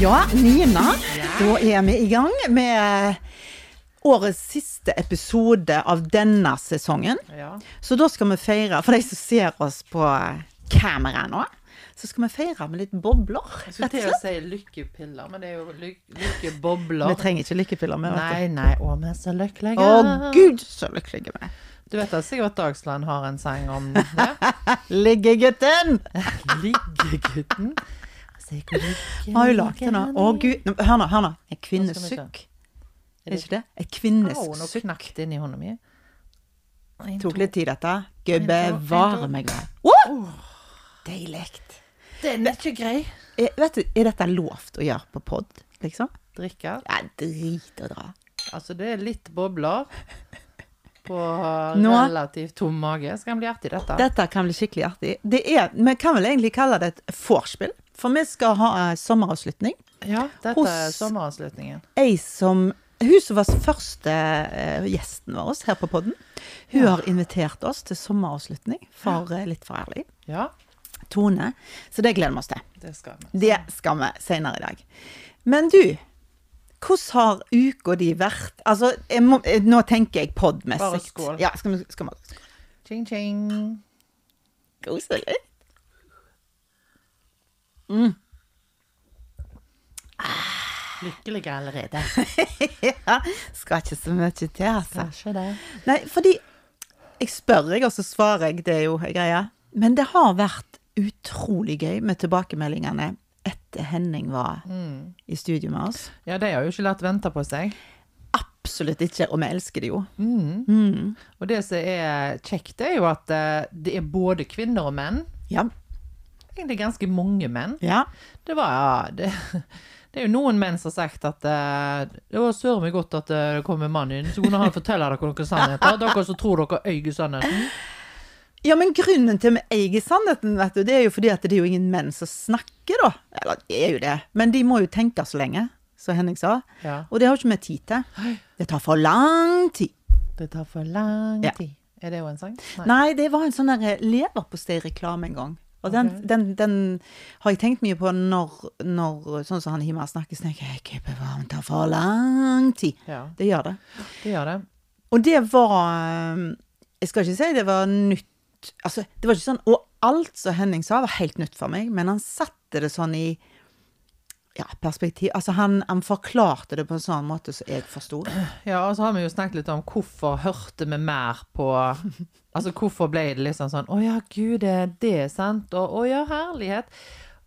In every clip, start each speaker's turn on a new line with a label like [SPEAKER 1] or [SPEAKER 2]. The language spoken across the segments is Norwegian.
[SPEAKER 1] Ja, Nina, da er vi i gang med årets siste episode av denne sesongen.
[SPEAKER 2] Ja.
[SPEAKER 1] Så da skal vi feire, for de som ser oss på kamera nå, så skal vi feire med litt bobler,
[SPEAKER 2] Jeg skulle
[SPEAKER 1] rett og
[SPEAKER 2] til å
[SPEAKER 1] slett.
[SPEAKER 2] si lykkepiller, men det er jo lyk
[SPEAKER 1] Vi
[SPEAKER 2] lykkebobler.
[SPEAKER 1] trenger ikke lykkepiller med, vet du.
[SPEAKER 2] Nei, nei, å, vi er så lykkelige.
[SPEAKER 1] Å gud, så lykkelige vi er.
[SPEAKER 2] Du vet at Sigvart Dagsland har en sang om det?
[SPEAKER 1] Liggegutten!
[SPEAKER 2] Liggegutten.
[SPEAKER 1] Har hun lagd det nå? Å gud. Nå, Hør nå, hør nå. Et
[SPEAKER 2] Nå skal vi se.
[SPEAKER 1] kvinnesukk. Er det ikke det? Et kvinnesukk.
[SPEAKER 2] Nå knakk det inni hånda mi. En,
[SPEAKER 1] Tok
[SPEAKER 2] to.
[SPEAKER 1] litt tid, dette. Gud
[SPEAKER 2] En, to, en,
[SPEAKER 1] bevare
[SPEAKER 2] to.
[SPEAKER 1] meg vel. Wow! Deilig.
[SPEAKER 2] Den er ikke grei.
[SPEAKER 1] Er, Eh, vet du, er dette lovt å gjøre på pod, liksom?
[SPEAKER 2] Drikke.
[SPEAKER 1] Ja, drit å dra.
[SPEAKER 2] Altså, det er litt bobler på
[SPEAKER 1] Nå-
[SPEAKER 2] relativt tom mage. Skal han bli artig, dette?
[SPEAKER 1] Dette kan bli skikkelig artig. Det er, vi kan vel egentlig kalle det et vorspiel, for vi skal ha eh, sommeravslutning.
[SPEAKER 2] Ja, dette er
[SPEAKER 1] Hos-
[SPEAKER 2] sommeravslutningen.
[SPEAKER 1] Ei som Hun som var første eh, gjesten vår her på podden, hun har invitert oss til sommeravslutning for eh, Litt for ærlig.
[SPEAKER 2] Ja,
[SPEAKER 1] Tone. Så det gleder vi oss til.
[SPEAKER 2] det skal vi.
[SPEAKER 1] Det skal vi senere i dag. Men du, hvordan har uka di vært? Altså, jeg må, eh, nå tenker jeg podmessig.
[SPEAKER 2] Bare skål.
[SPEAKER 1] Ja, skal vi, skal vi
[SPEAKER 2] Ching, ching.
[SPEAKER 1] Koselig.
[SPEAKER 2] Lykkelige allerede.
[SPEAKER 1] ja, skal ikke så mye til, altså.
[SPEAKER 2] Kanskje det.
[SPEAKER 1] Nei, fordi jeg spør, jeg, og så svarer jeg. Det er jo greia. Men det har vært utrolig gøy med tilbakemeldingene etter Henning var i studio med oss.
[SPEAKER 2] Ja, de har jo ikke latt vente på seg.
[SPEAKER 1] Absolutt ikke, og vi elsker det jo.
[SPEAKER 2] Og det som er kjekt, er jo at eh, det er både kvinner og menn.
[SPEAKER 1] Ja.
[SPEAKER 2] Egentlig ganske mange menn.
[SPEAKER 1] ja.
[SPEAKER 2] Det var ja, det, det er jo noen menn som har sagt at eh, det var søren meg godt at eh, det kom en mann inn, så kunne han fortelle dere noen sannheter. Dere som tror dere øyer sannheten.
[SPEAKER 1] Ja, men grunnen til at vi eier sannheten, vet du, det er jo fordi at det er jo ingen menn som snakker, da. Eller det er jo det, men de må jo tenke så lenge, som Henning sa.
[SPEAKER 2] Ja.
[SPEAKER 1] Og det har ikke vi tid til. Det tar for lang tid.
[SPEAKER 2] Det tar for lang
[SPEAKER 1] Ja.
[SPEAKER 2] tid. Er det jo en sang?
[SPEAKER 1] Nei, det var en sånn der leverpostei-reklame en gang. Og den, den, den har jeg tenkt mye på når, når sånn som han Hima snakker, så tenker jeg «Gud bevare, det tar for lang tid.
[SPEAKER 2] Ja,
[SPEAKER 1] Det gjør det.
[SPEAKER 2] det gjør det.
[SPEAKER 1] Og det var um, Jeg skal ikke si det var nytt. Altså, det var ikke sånn Og alt som Henning sa, var helt nytt for meg, men han satte det sånn i ja, perspektiv Altså, han, han forklarte det på en sånn måte som jeg forsto.
[SPEAKER 2] Ja, og så har vi jo snakket litt om hvorfor hørte vi mer på Altså hvorfor ble det liksom sånn Å ja, gud, det er det sant? Og å ja, herlighet.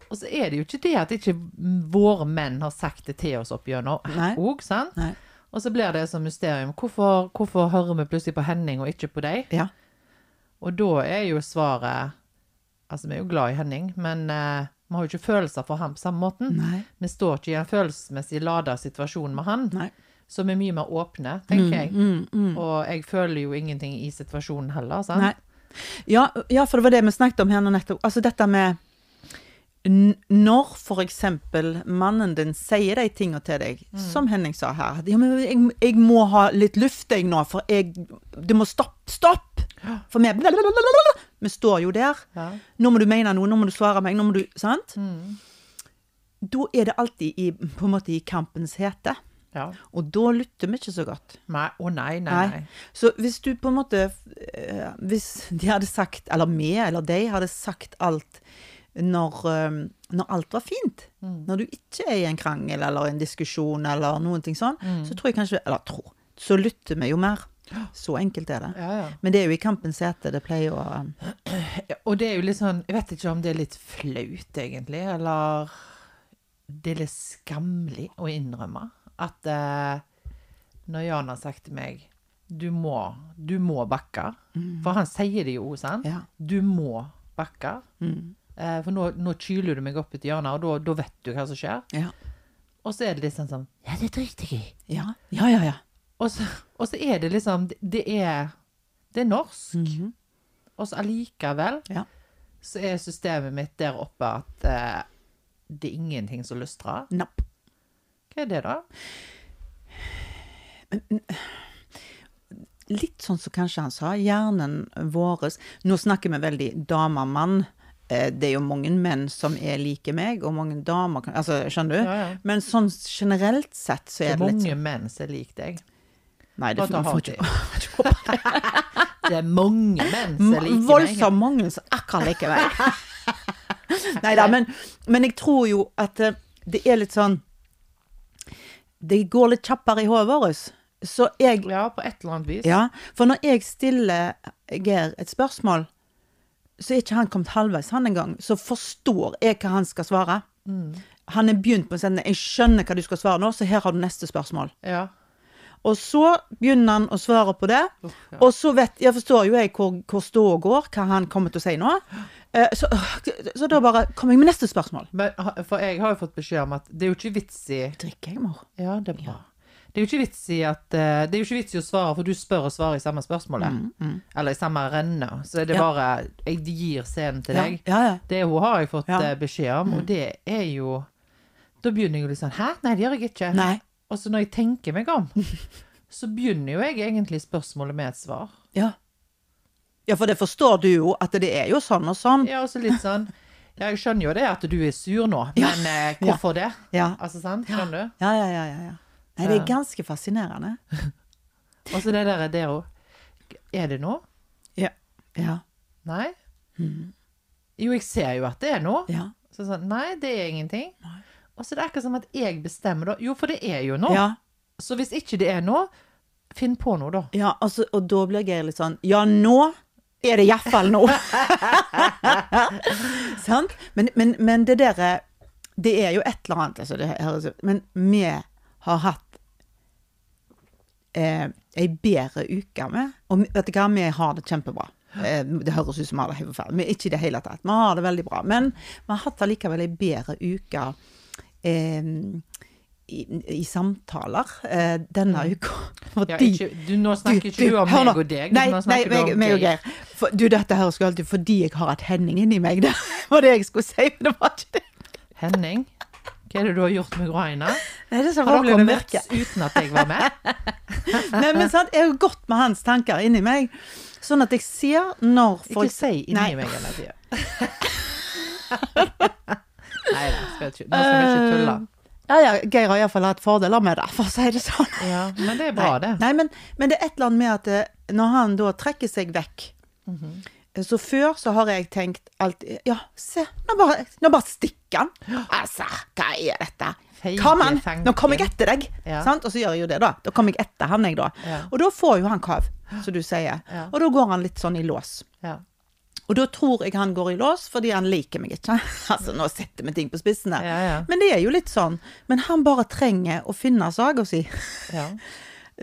[SPEAKER 2] Og så er det jo ikke det at ikke våre menn har sagt det til oss opp gjennom
[SPEAKER 1] Nei.
[SPEAKER 2] òg, sant?
[SPEAKER 1] Nei.
[SPEAKER 2] Og så blir det som mysterium. Hvorfor, hvorfor hører vi plutselig på Henning og ikke på deg?
[SPEAKER 1] Ja.
[SPEAKER 2] Og da er jo svaret Altså, vi er jo glad i Henning, men eh, vi har jo ikke følelser for ham på samme måten.
[SPEAKER 1] Nei.
[SPEAKER 2] Vi står ikke i en følelsesmessig lada situasjon med han
[SPEAKER 1] Nei.
[SPEAKER 2] som er mye mer åpne,
[SPEAKER 1] Mm,
[SPEAKER 2] tenker jeg. Og jeg føler jo ingenting i situasjonen heller, sant?
[SPEAKER 1] Nei. Ja, ja, for det var det vi snakket om her nå nettopp. Altså dette med n- når for eksempel mannen din sier de tingene til deg, som Henning sa her at, ja, men jeg, 'Jeg må ha litt luft, jeg, nå, for jeg Du må stoppe! Stopp! For vi Vi står jo der.
[SPEAKER 2] Ja.
[SPEAKER 1] Nå må du mene noe, nå må du svare meg, nå må du Sant? Da er det alltid i, på en måte i kampens hete.
[SPEAKER 2] Ja.
[SPEAKER 1] Og da lytter vi ikke så godt.
[SPEAKER 2] Nei, å nei, nei,
[SPEAKER 1] Nei.
[SPEAKER 2] nei.
[SPEAKER 1] Så hvis du på en måte eh, Hvis de hadde sagt, eller vi eller de hadde sagt alt når, eh, når alt var fint,
[SPEAKER 2] Mm.
[SPEAKER 1] når du ikke er i en krangel eller en diskusjon eller noen ting sånn,
[SPEAKER 2] Mm.
[SPEAKER 1] så tror jeg kanskje Eller tror. Så lytter vi jo mer. Så enkelt er det.
[SPEAKER 2] Ja, ja.
[SPEAKER 1] Men det er jo i kampens hete det pleier å eh,
[SPEAKER 2] Ja, Og det er jo litt sånn, jeg vet ikke om det er litt flaut egentlig, eller det er litt skamlig å innrømme at eh, når Jan har sagt til meg, du må, du må bakke, for han sier det jo, sant?
[SPEAKER 1] Mm. Ja. Mm.
[SPEAKER 2] Du må bakke, eh, for nå, nå kyler du meg opp ut i hjørnet, og da, da vet du hva som skjer.
[SPEAKER 1] Ja.
[SPEAKER 2] Og så er det litt sånn sånn, ja, det driter jeg i.
[SPEAKER 1] Ja, ja, ja. ja.
[SPEAKER 2] Og så, og så er det liksom Det er, det er norsk.
[SPEAKER 1] Mhm.
[SPEAKER 2] Og så allikevel
[SPEAKER 1] Ja.
[SPEAKER 2] så er systemet mitt der oppe at eh, det er ingenting som lystrer.
[SPEAKER 1] Napp.
[SPEAKER 2] Hva er det, da?
[SPEAKER 1] litt sånn som kanskje han sa, hjernen vår Nå snakker vi veldig dame-mann. eh, det er jo mange menn som er like meg, og mange damer kan Altså, skjønner du?
[SPEAKER 2] Ja, ja.
[SPEAKER 1] Men sånn generelt sett så
[SPEAKER 2] Det
[SPEAKER 1] er
[SPEAKER 2] er
[SPEAKER 1] det litt sånn.
[SPEAKER 2] mange menn som er lik deg.
[SPEAKER 1] Nei, det
[SPEAKER 2] Bare ta
[SPEAKER 1] får
[SPEAKER 2] hardt
[SPEAKER 1] ikke
[SPEAKER 2] i. Det er mange menn som er like deg.
[SPEAKER 1] Voldsom mangel som akkurat liker meg. Nei da, men, men jeg tror jo at eh, det er litt sånn Det går litt kjappere i hodet vårt. Så jeg
[SPEAKER 2] Ja, på et eller annet vis.
[SPEAKER 1] Ja, for når jeg stiller Geir et spørsmål, så er ikke han kommet halvveis han engang. Så forstår jeg hva han skal svare.
[SPEAKER 2] Mm.
[SPEAKER 1] Han er begynt på å sende 'Jeg skjønner hva du skal svare nå, så her har du neste spørsmål'.
[SPEAKER 2] Ja.
[SPEAKER 1] Og så begynner han å svare på det.
[SPEAKER 2] Uff, ja.
[SPEAKER 1] Og så vet Jeg forstår jo jeg hvor, hvor ståa går, hva han kommer til å si nå. Eh, så, så da bare kommer jeg med neste spørsmål.
[SPEAKER 2] Men, ha- for jeg har jo fått beskjed om at det er jo ikke vits i
[SPEAKER 1] Drikker jeg, mor?
[SPEAKER 2] Ja, det er bra. Det er jo ikke vits i at eh, Det er jo ikke vits i å svare, for du spør og svarer i samme spørsmålet. Eller i samme renne. Så er det
[SPEAKER 1] Mm, Ja.
[SPEAKER 2] bare Jeg gir scenen til
[SPEAKER 1] Ja,
[SPEAKER 2] deg.
[SPEAKER 1] ja, ja.
[SPEAKER 2] Det hun har jeg fått
[SPEAKER 1] Ja. Mm.
[SPEAKER 2] eh, beskjed om, og det er jo Da begynner jeg jo litt sånn Hæ? Nei, det gjør jeg ikke.
[SPEAKER 1] Nei.
[SPEAKER 2] Og så når jeg tenker meg om, så begynner jo jeg egentlig spørsmålet med et svar.
[SPEAKER 1] Ja. ja, for det forstår du jo, at det er jo sånn og sånn.
[SPEAKER 2] Ja, og så litt sånn Ja, jeg skjønner jo det at du er sur nå, men eh, hvorfor det?
[SPEAKER 1] Ja.
[SPEAKER 2] Altså, sant? Skjønner du?
[SPEAKER 1] Ja, ja, ja. ja, ja. Nei, det er ganske fascinerende.
[SPEAKER 2] Og så det der er det òg. Er det noe?
[SPEAKER 1] Ja. Ja.
[SPEAKER 2] Nei? Jo, jeg ser jo at det er noe.
[SPEAKER 1] Mm. Ja.
[SPEAKER 2] Så sånn Nei, det er ingenting. Og så er det akkurat som at jeg bestemmer, da. Jo, for det er jo noe.
[SPEAKER 1] ja.
[SPEAKER 2] Så hvis ikke det er noe, finn på noe, da.
[SPEAKER 1] ja og, så, og da blir Geir litt sånn Ja, nå er det iallfall noe! Sant? Men, men, men det der eh, Det er jo et eller annet, altså. Det høres ut Men vi har hatt eh, ei bedre uke med. Og vi- vet du hva, vi har det kjempebra. Eh, det høres ut som vi har det helt forferdelig, men ikke i det hele tatt. Vi har det veldig bra. Men vi har hatt allikevel ei bedre uke eh, i, i samtaler eh, denne uka.
[SPEAKER 2] Ja,
[SPEAKER 1] Fordi-
[SPEAKER 2] ikke, du, nå snakker ikke du om
[SPEAKER 1] hør nå.
[SPEAKER 2] meg og deg.
[SPEAKER 1] Nei,
[SPEAKER 2] nå
[SPEAKER 1] nei
[SPEAKER 2] snakker
[SPEAKER 1] meg,
[SPEAKER 2] du om
[SPEAKER 1] meg og
[SPEAKER 2] Geir.
[SPEAKER 1] Geir. For, du, dette høres jo alltid fordi jeg har hatt Henning inni meg. Det var det jeg skulle si, men det var ikke det.
[SPEAKER 2] Henning, hva er det du har gjort med Graina?
[SPEAKER 1] Nei, det er så
[SPEAKER 2] Har
[SPEAKER 1] vanskelig
[SPEAKER 2] dere
[SPEAKER 1] å merke.
[SPEAKER 2] møttes uten at jeg var med?
[SPEAKER 1] Nei, men sant, jeg har gått med hans tanker inni meg. Sånn at jeg ser når
[SPEAKER 2] Ikke
[SPEAKER 1] folk
[SPEAKER 2] si inni
[SPEAKER 1] Nei.
[SPEAKER 2] meg hele tida. Nei da, skal jeg ikke, nå skal vi
[SPEAKER 1] Eh,
[SPEAKER 2] ikke tulle.
[SPEAKER 1] Ja, ja, Geir har iallfall hatt fordeler med det, for å si det sånn.
[SPEAKER 2] Ja, men det er bra, det.
[SPEAKER 1] Nei, men, men det er et eller annet med at eh, når han da trekker seg vekk
[SPEAKER 2] Mhm.
[SPEAKER 1] eh, Så før så har jeg tenkt alltid Ja, se, nå bare, nå bare stikker han. Altså, hva er dette?
[SPEAKER 2] Feige
[SPEAKER 1] Kom an, nå
[SPEAKER 2] fanken.
[SPEAKER 1] kommer jeg etter deg.
[SPEAKER 2] Ja.
[SPEAKER 1] Sant? Og så gjør jeg jo det, da. Da kommer jeg etter han, jeg, da.
[SPEAKER 2] Ja.
[SPEAKER 1] Og da får jo han kav, som du sier.
[SPEAKER 2] Ja.
[SPEAKER 1] Og da går han litt sånn i lås.
[SPEAKER 2] Ja.
[SPEAKER 1] Og da tror jeg han går i lås fordi han liker meg ikke. altså, nå setter vi ting på spissen her.
[SPEAKER 2] Ja, ja.
[SPEAKER 1] Men det er jo litt sånn. Men han bare trenger å finne saga si.
[SPEAKER 2] Ja.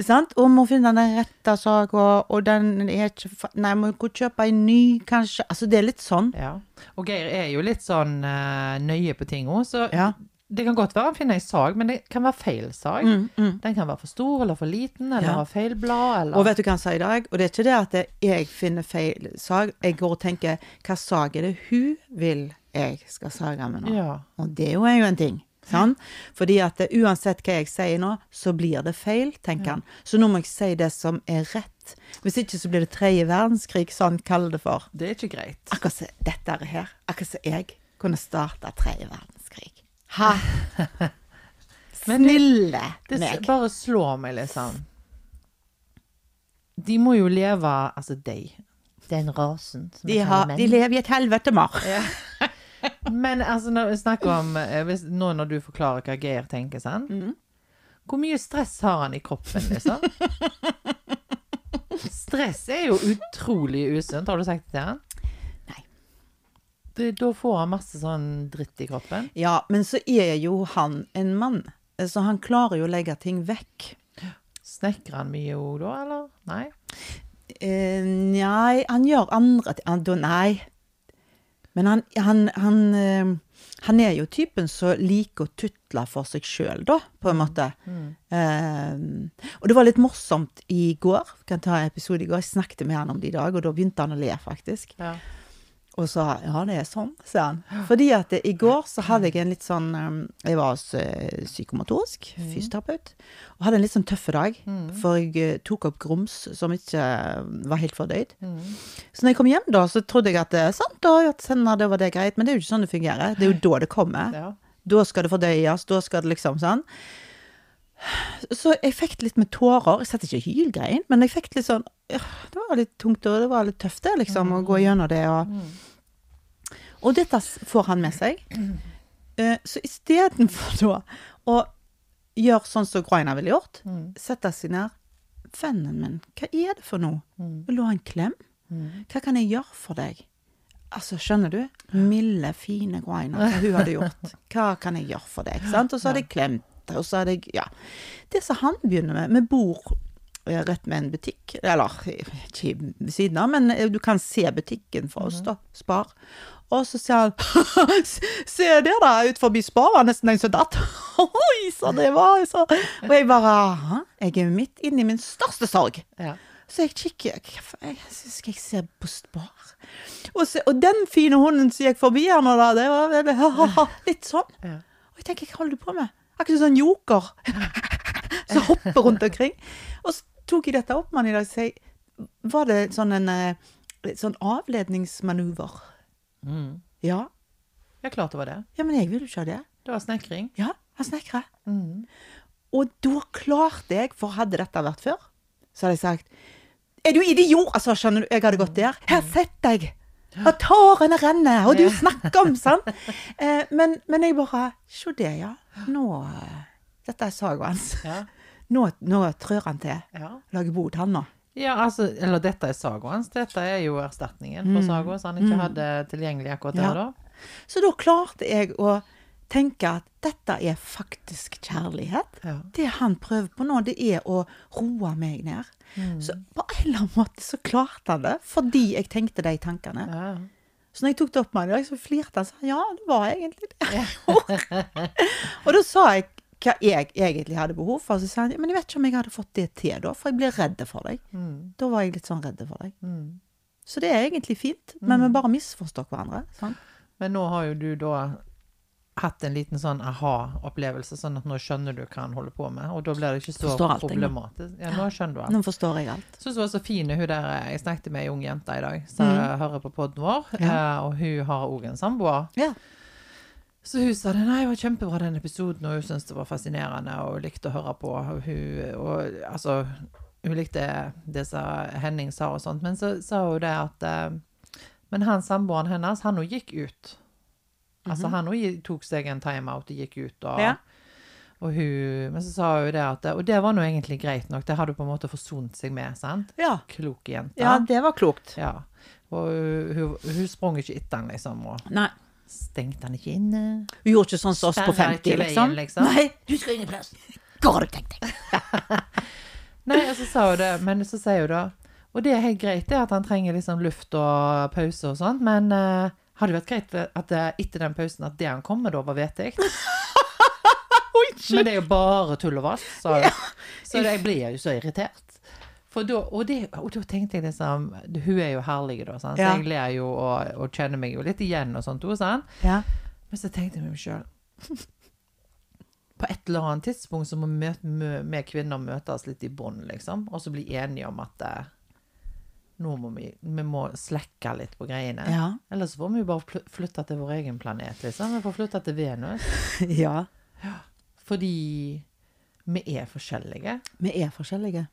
[SPEAKER 1] Sant? Og må finne den rette saga, og den er ikke fa- Nei, må gå og kjøpe en ny, kanskje. Altså, det er litt sånn.
[SPEAKER 2] ja. Og Geir er jo litt sånn eh, nøye på ting òg, så
[SPEAKER 1] Ja.
[SPEAKER 2] det kan godt være han finner ei sag, men det kan være feil sag. Den kan være for stor eller for liten, eller
[SPEAKER 1] Mm, Ja.
[SPEAKER 2] ha feil blad,
[SPEAKER 1] Og
[SPEAKER 2] eller
[SPEAKER 1] vet du hva han sa i dag? Og det er ikke det at jeg finner feil sag. Jeg går og tenker hva sag er det hun vil jeg skal sage med nå?
[SPEAKER 2] Ja.
[SPEAKER 1] Og det er jo er jo en ting. Sant? Fordi at eh, uansett hva jeg sier nå, så blir det feil, tenker han. Så nå må jeg si det som er rett. Hvis ikke så blir det tredje verdenskrig, som han kaller det for.
[SPEAKER 2] Det er ikke greit.
[SPEAKER 1] Akkurat som dette her. Akkurat som jeg kunne starta tredje verdenskrig. Ha! Snille
[SPEAKER 2] Det s-
[SPEAKER 1] meg.
[SPEAKER 2] bare slår meg, liksom. De må jo leve Altså, de. Den rasen som
[SPEAKER 1] De, har, de lever i et helvete, Mar.
[SPEAKER 2] Men altså, når vi snakker om eh, hvis, Nå når du forklarer hva Geir tenker, sant? Hvor mye stress har han i kroppen, liksom? stress er jo utrolig usunt. Har du sagt det til han?
[SPEAKER 1] Nei.
[SPEAKER 2] Det, da får han masse sånn dritt i kroppen.
[SPEAKER 1] Ja, men så er jo han en mann, eh, så han klarer jo å legge ting vekk.
[SPEAKER 2] Snekrer han mye òg da, eller? Nei?
[SPEAKER 1] Eh, nei, han gjør andre ting han- da- Nei. Men han, han, han, eh, han er jo typen som liker å tutle for seg sjøl, da, på en måte. Eh, og det var litt morsomt i går. Vi kan ta en episode i går. Jeg snakket med han om det i dag, og da begynte han å le, faktisk.
[SPEAKER 2] Ja.
[SPEAKER 1] Og sa ja, det er sånn, sier han. Fordi at eh, i går så hadde jeg en litt sånn eh, Jeg var hos eh, psykomotorisk, fysioterapeut, og hadde en litt sånn tøff dag. For jeg eh, tok opp grums som ikke eh, var helt fordøyd.
[SPEAKER 2] Mm,
[SPEAKER 1] Så når jeg kom hjem, da, så trodde jeg at eh, sant, da, ja, sender, det var det greit. Men det er jo ikke sånn det fungerer. Det er jo da det kommer.
[SPEAKER 2] Ja.
[SPEAKER 1] Da skal det fordøyes, da skal det liksom sånn. Så jeg fikk det litt med tårer. Jeg satt ikke og hylgrein, men jeg fikk det litt sånn «Åh, Det var litt tungt, og det var litt tøft, det, liksom, å gå gjennom det og Og dette s- får han med seg. Eh, Så istedenfor da å gjøre sånn som Groina ville gjort, sette seg ned Vennen min, hva er det for noe? Vil du ha en klem? Hva kan jeg gjøre for deg? Altså, skjønner du? Milde, fine Groina, hva hun hadde gjort. Hva kan jeg gjøre for deg? Sant? Og så hadde jeg klemt, og så hadde jeg Ja. Det som han begynner med Vi bor eh, rett med en butikk, eller ikke ved siden av, men eh, du kan se butikken for oss, da. Spar. Og så sier han Se der, da, ut forbi Spar var nesten en som datt. Oi, så det var så. Og jeg bare Hæ? Jeg er midt inne i min største sorg.
[SPEAKER 2] Ja.
[SPEAKER 1] Så jeg kikker hva faen, jeg, Skal jeg se på Spar? Og, se, og den fine hunden som gikk forbi her nå, da, det var vel litt sånn.
[SPEAKER 2] Ja.
[SPEAKER 1] Og jeg tenker, hva holder du på med? Akkurat som en joker som hopper rundt omkring. Og så tok jeg dette opp med han i dag og sa Var det sånn en eh, sånn avledningsmanøver?
[SPEAKER 2] Mm.
[SPEAKER 1] Ja.
[SPEAKER 2] ja, klart det var det.
[SPEAKER 1] Ja, men jeg vil jo ikke ha det.
[SPEAKER 2] Det var snekring.
[SPEAKER 1] Ja, han snekrer.
[SPEAKER 2] Mm.
[SPEAKER 1] Og da klarte jeg, for hadde dette vært før, så hadde jeg sagt Er du idiot? Altså, skjønner du, jeg hadde gått der. Her sitter jeg! Og tårene renner, og du snakker om sånn. Eh, men, men jeg bare Se det, ja. Nå eh, Dette er saga hans.
[SPEAKER 2] Ja.
[SPEAKER 1] Nå, nå trør han til.
[SPEAKER 2] ja.
[SPEAKER 1] Lager bod, han nå.
[SPEAKER 2] Ja, altså, eller dette er saga hans. Dette er jo erstatningen for saga som han ikke hadde tilgjengelig akkurat
[SPEAKER 1] Ja.
[SPEAKER 2] der da.
[SPEAKER 1] Så da klarte jeg å tenke at dette er faktisk kjærlighet.
[SPEAKER 2] Ja.
[SPEAKER 1] Det han prøver på nå, det er å roe meg ned. Så på en eller annen måte så klarte han det, fordi jeg tenkte de tankene.
[SPEAKER 2] Ja.
[SPEAKER 1] Så når jeg tok det opp med han i dag, så flirte han sånn. Ja, det var egentlig det jeg gjorde. Og da sa jeg hva jeg egentlig hadde behov for. Så sa han, men jeg vet ikke om jeg hadde fått det til da, for jeg blir redd for deg. Da var jeg litt sånn redd for deg.
[SPEAKER 2] Mm.
[SPEAKER 1] Så det er egentlig fint, men vi bare misforstår hverandre. sant?
[SPEAKER 2] Men nå har jo du da hatt en liten sånn aha-opplevelse, sånn at nå skjønner du hva han holder på med, og da blir det ikke så
[SPEAKER 1] Forstår alt, jeg nå.
[SPEAKER 2] problematisk. Ja, nå skjønner du alt.
[SPEAKER 1] Nå forstår jeg alt.
[SPEAKER 2] Jeg synes det var så fin hun der jeg snakket med, ei ung jente i dag, som hører på podden vår, eh, og hun har òg en samboer.
[SPEAKER 1] Ja.
[SPEAKER 2] Så hun sa det, nei, det var kjempebra den episoden, og hun syntes det var fascinerende, og hun likte å høre på. Og hun, og, altså, hun likte det som Henning sa og sånt, men så sa hun det at eh, Men han samboeren hennes, han òg gikk ut. Altså, han òg tok seg en timeout og gikk ut, og,
[SPEAKER 1] Mhm. Ja.
[SPEAKER 2] og hun Men så sa hun det at Og det var nå egentlig greit nok, det har du på en måte forsont seg med, sant?
[SPEAKER 1] Ja.
[SPEAKER 2] Klok jente.
[SPEAKER 1] ja, det var klokt.
[SPEAKER 2] Ja. Og hun, hun, hun sprang ikke etter han, liksom, og
[SPEAKER 1] Nei.
[SPEAKER 2] stengte han ikke inne.
[SPEAKER 1] Hun gjorde ikke sånn som oss på
[SPEAKER 2] Sperrer ikke
[SPEAKER 1] 50,
[SPEAKER 2] veien,
[SPEAKER 1] liksom.
[SPEAKER 2] liksom.
[SPEAKER 1] Nei, du skal ingen plass. Hva har du tenkt deg?
[SPEAKER 2] Nei, og så sa hun det, men så sier hun da Og det er helt greit, det at han trenger liksom luft og pause og sånt, men eh, hadde det vært greit at det, etter den pausen at det han kom med da, var vedtekt? men det er jo bare tull og vass, sa hun. Så jeg blir jo så irritert. For da, og, det, og da tenkte jeg liksom Hun er jo herlig, da, sant? så
[SPEAKER 1] Ja.
[SPEAKER 2] jeg ler jo og, og kjenner meg jo litt igjen og sånt. også, Sant?
[SPEAKER 1] Ja.
[SPEAKER 2] Men så tenkte jeg med meg sjøl På et eller annet tidspunkt så må vi mø- mø- vi kvinner møtes litt i bånd, liksom. Og så bli enige om at eh, nå må vi, vi må slekke litt på greiene.
[SPEAKER 1] Ja.
[SPEAKER 2] Ellers får vi jo bare pl- flytte til vår egen planet, liksom. Vi får flytte til Venus.
[SPEAKER 1] ja.
[SPEAKER 2] Fordi vi er forskjellige.
[SPEAKER 1] Vi er forskjellige.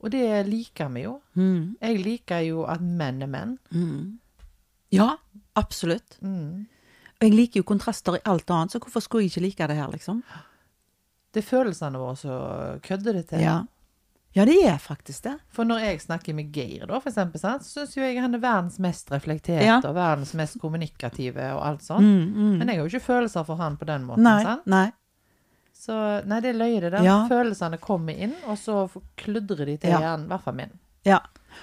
[SPEAKER 2] Og det liker vi jo.
[SPEAKER 1] Mm.
[SPEAKER 2] Jeg liker jo at menn er menn.
[SPEAKER 1] Ja, absolutt.
[SPEAKER 2] Mm.
[SPEAKER 1] Og jeg liker jo kontraster i alt annet, så hvorfor skulle jeg ikke like det her, liksom?
[SPEAKER 2] Det er følelsene våre som kødder det til.
[SPEAKER 1] Ja. Ja, det er faktisk det.
[SPEAKER 2] For når jeg snakker med Geir, da, for eksempel, sant, så syns jo jeg han er verdens mest reflekterte
[SPEAKER 1] Ja.
[SPEAKER 2] og verdens mest kommunikative og alt sånt. Men jeg har jo ikke følelser for han på den måten.
[SPEAKER 1] Mm, Nei,
[SPEAKER 2] sant?
[SPEAKER 1] nei.
[SPEAKER 2] Så nei, det er løye, det der.
[SPEAKER 1] Ja.
[SPEAKER 2] Følelsene kommer inn, og så kludrer de til
[SPEAKER 1] Ja.
[SPEAKER 2] hjernen. I hvert fall min.
[SPEAKER 1] Ja.